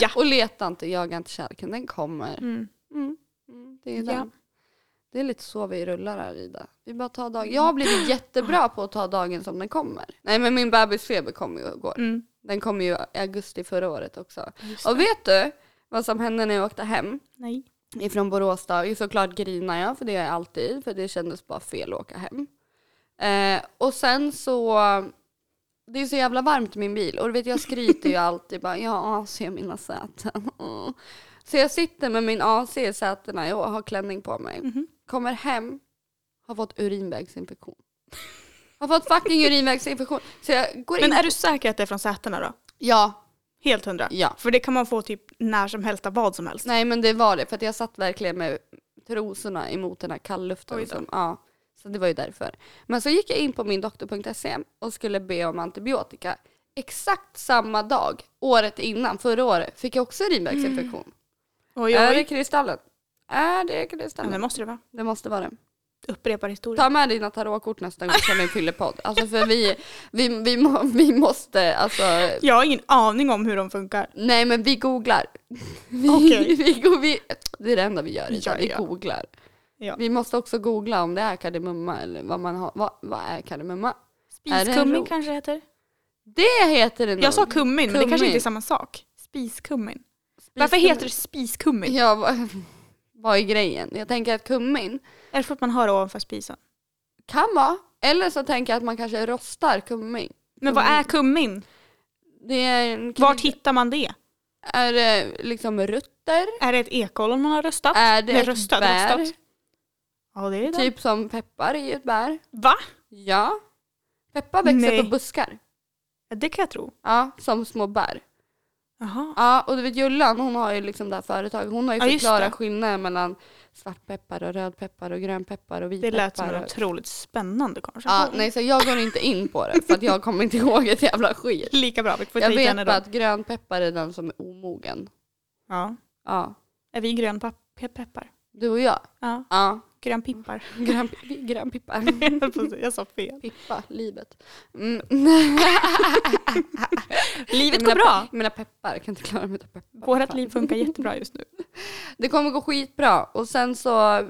[SPEAKER 1] Ja.
[SPEAKER 2] Och leta inte, jaga inte kärleken, den kommer.
[SPEAKER 1] Mm.
[SPEAKER 2] Mm. Mm. Det, är
[SPEAKER 1] Ja.
[SPEAKER 2] den. det är lite så vi rullar här Ida. Vi bara tar
[SPEAKER 1] Mm.
[SPEAKER 2] dagen. Jag har blivit jättebra på att ta dagen som den kommer. Nej men min bebisfeber kom ju igår.
[SPEAKER 1] Mm.
[SPEAKER 2] Den kom ju i augusti förra året också. Och vet du vad som hände när jag åkte hem?
[SPEAKER 1] Nej.
[SPEAKER 2] ifrån Borås då. Ju Såklart grinar jag, för det gör jag alltid, för det kändes bara fel att åka hem. Eh, och sen så, det är så jävla varmt i min bil och du vet jag skryter ju alltid bara, ja, se mina säten. Mm. Så jag sitter med min AC i sätena och har klänning på mig.
[SPEAKER 1] Mhm.
[SPEAKER 2] Kommer hem, har fått urinvägsinfektion. Har fått fucking urinvägsinfektion. Så jag går in.
[SPEAKER 1] Men är du säker att det är från sätena då?
[SPEAKER 2] Ja,
[SPEAKER 1] Helt hundra?
[SPEAKER 2] Ja.
[SPEAKER 1] För det kan man få typ när som helst av vad som helst.
[SPEAKER 2] Nej men det var det, för att jag satt verkligen med trosorna emot den här kallluften.
[SPEAKER 1] Oj då.
[SPEAKER 2] Som, ja, så det var ju därför. Men så gick jag in på min doktor.se och skulle be om antibiotika. Exakt samma dag, året innan, förra året, fick jag också urinvägsinfektion.
[SPEAKER 1] Oj,
[SPEAKER 2] Mm. Är det
[SPEAKER 1] oj.
[SPEAKER 2] kristallen? Mm. Är det
[SPEAKER 1] Ja,
[SPEAKER 2] kristallen?
[SPEAKER 1] det måste det vara.
[SPEAKER 2] det måste vara det.
[SPEAKER 1] Upprepar historien.
[SPEAKER 2] Ta med dina tarotkort nästa gång vi kör min fyllepodd. Alltså för vi, vi, vi, må, vi måste, alltså.
[SPEAKER 1] Jag har ingen aning om hur de funkar.
[SPEAKER 2] Nej men vi googlar. Vi,
[SPEAKER 1] Okej.
[SPEAKER 2] vi, go- vi, det är det enda vi gör
[SPEAKER 1] Ja,
[SPEAKER 2] idag, vi
[SPEAKER 1] ja.
[SPEAKER 2] googlar.
[SPEAKER 1] Ja.
[SPEAKER 2] Vi måste också googla om det är kardemumma eller vad man har. Vad, vad är kardemumma? Är det en
[SPEAKER 1] Spiskummin
[SPEAKER 2] rot?
[SPEAKER 1] kanske det heter.
[SPEAKER 2] Det heter det nog.
[SPEAKER 1] Jag sa kummin, men det kanske
[SPEAKER 2] Kummin.
[SPEAKER 1] inte är samma sak. Spiskummin. Varför heter det spiskummin?
[SPEAKER 2] Ja, vad, vad är grejen? Jag tänker att kummin
[SPEAKER 1] Är det för att man har det ovanför spisen?
[SPEAKER 2] kan vara, eller så tänker jag att man kanske rostar kummin.
[SPEAKER 1] Men vad är kummin?
[SPEAKER 2] Det är en
[SPEAKER 1] Vart hittar man det?
[SPEAKER 2] Är det liksom rutter?
[SPEAKER 1] Är det ett ekollon man har röstat?
[SPEAKER 2] Är det
[SPEAKER 1] Eller
[SPEAKER 2] ett
[SPEAKER 1] röstat,
[SPEAKER 2] bär?
[SPEAKER 1] röstat? Ja, det är det.
[SPEAKER 2] Typ som peppar i ett bär.
[SPEAKER 1] Va?
[SPEAKER 2] Ja. Peppar växer
[SPEAKER 1] Nej.
[SPEAKER 2] på buskar.
[SPEAKER 1] Ja, Det kan jag tro.
[SPEAKER 2] Ja, som små bär.
[SPEAKER 1] Jaha.
[SPEAKER 2] Ja, och du vet Jullan, hon har ju liksom det här företaget. Hon har ju
[SPEAKER 1] Ja, just
[SPEAKER 2] förklarat
[SPEAKER 1] det.
[SPEAKER 2] skillnaden mellan svartpeppar och rödpeppar och grönpeppar och
[SPEAKER 1] Det
[SPEAKER 2] vitpeppar.
[SPEAKER 1] lät som en
[SPEAKER 2] och...
[SPEAKER 1] otroligt spännande
[SPEAKER 2] Ja,
[SPEAKER 1] konversation.
[SPEAKER 2] nej, så jag går inte in på det för att jag kommer inte ihåg ett jävla skit.
[SPEAKER 1] Lika bra, vi får
[SPEAKER 2] Jag
[SPEAKER 1] dejta
[SPEAKER 2] vet
[SPEAKER 1] henne
[SPEAKER 2] bara
[SPEAKER 1] då.
[SPEAKER 2] att grönpeppar är den som är omogen.
[SPEAKER 1] Ja.
[SPEAKER 2] Ja,
[SPEAKER 1] Är vi grönpeppar?
[SPEAKER 2] du och jag.
[SPEAKER 1] Ja,
[SPEAKER 2] Ja,
[SPEAKER 1] grönpippar.
[SPEAKER 2] grön, vi är grönpippar.
[SPEAKER 1] jag sa fel.
[SPEAKER 2] Pippa, livet. Mm.
[SPEAKER 1] Livet
[SPEAKER 2] Jag
[SPEAKER 1] går
[SPEAKER 2] menar-
[SPEAKER 1] bra.
[SPEAKER 2] Jag menar peppar, jag kan inte klara mig utan peppar.
[SPEAKER 1] Vårt liv funkar jättebra just nu.
[SPEAKER 2] Det kommer gå skitbra och sen så,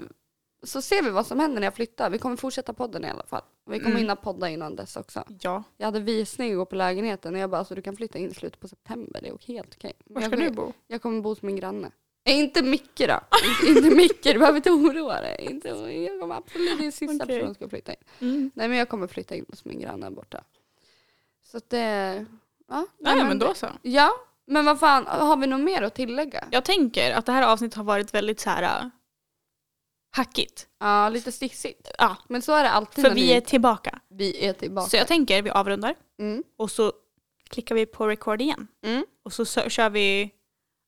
[SPEAKER 2] så ser vi vad som händer när jag flyttar. Vi kommer fortsätta podden i alla fall. Vi kommer
[SPEAKER 1] Mm.
[SPEAKER 2] hinna podda innan dess också.
[SPEAKER 1] Ja.
[SPEAKER 2] Jag hade visning igår på lägenheten och jag bara, alltså, du kan flytta in i slutet på september, det är helt okej. Men
[SPEAKER 1] Var
[SPEAKER 2] jag
[SPEAKER 1] ska
[SPEAKER 2] vill-
[SPEAKER 1] du bo?
[SPEAKER 2] Jag kommer bo hos min granne. Äh, inte Micke då. Inte- inte Micke, du behöver inte oroa dig. Inte, jag kommer absolut, det är sista
[SPEAKER 1] Okej.
[SPEAKER 2] personen som ska flytta in.
[SPEAKER 1] Mm.
[SPEAKER 2] Nej men jag kommer flytta in hos min granne här borta. Så att det, ja.
[SPEAKER 1] Ja, ja, men då så.
[SPEAKER 2] Ja, men vad fan, har vi något mer att tillägga?
[SPEAKER 1] Jag tänker att det här avsnittet har varit väldigt så här äh, hackigt.
[SPEAKER 2] Ja, lite stissigt.
[SPEAKER 1] Ja,
[SPEAKER 2] Men så är det alltid
[SPEAKER 1] för
[SPEAKER 2] när
[SPEAKER 1] vi är tillbaka.
[SPEAKER 2] vi är tillbaka.
[SPEAKER 1] Så jag tänker vi avrundar
[SPEAKER 2] mm.
[SPEAKER 1] och så klickar vi på record igen.
[SPEAKER 2] Mm.
[SPEAKER 1] Och så, så kör vi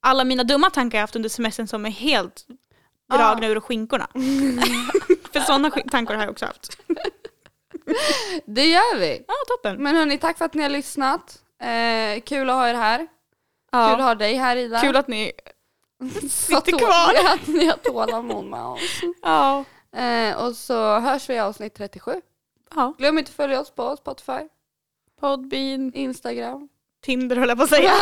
[SPEAKER 1] alla mina dumma tankar jag haft under semestern som är helt dragna ur skinkorna. för sådana sk- tankar har jag också haft.
[SPEAKER 2] Det gör vi.
[SPEAKER 1] Ja, toppen.
[SPEAKER 2] Men hörni, tack för att ni har lyssnat. Eh, kul att ha er här.
[SPEAKER 1] Ja.
[SPEAKER 2] Kul att ha dig här Ida.
[SPEAKER 1] Kul att ni...
[SPEAKER 2] Vad
[SPEAKER 1] sitter
[SPEAKER 2] tå-
[SPEAKER 1] kvar.
[SPEAKER 2] Att ni har tålamod med oss.
[SPEAKER 1] Ja.
[SPEAKER 2] Eh, och så hörs vi i avsnitt 37.
[SPEAKER 1] ja.
[SPEAKER 2] Glöm inte att följa oss på Spotify,
[SPEAKER 1] Podbean,
[SPEAKER 2] Instagram,
[SPEAKER 1] Tinder höll jag på att säga.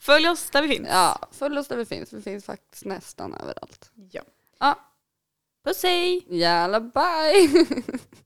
[SPEAKER 1] Följ oss där vi finns.
[SPEAKER 2] ja, följ oss där vi finns. Vi finns faktiskt nästan överallt.
[SPEAKER 1] Ja.
[SPEAKER 2] Ja.
[SPEAKER 1] Puss hej!
[SPEAKER 2] Jalla bye!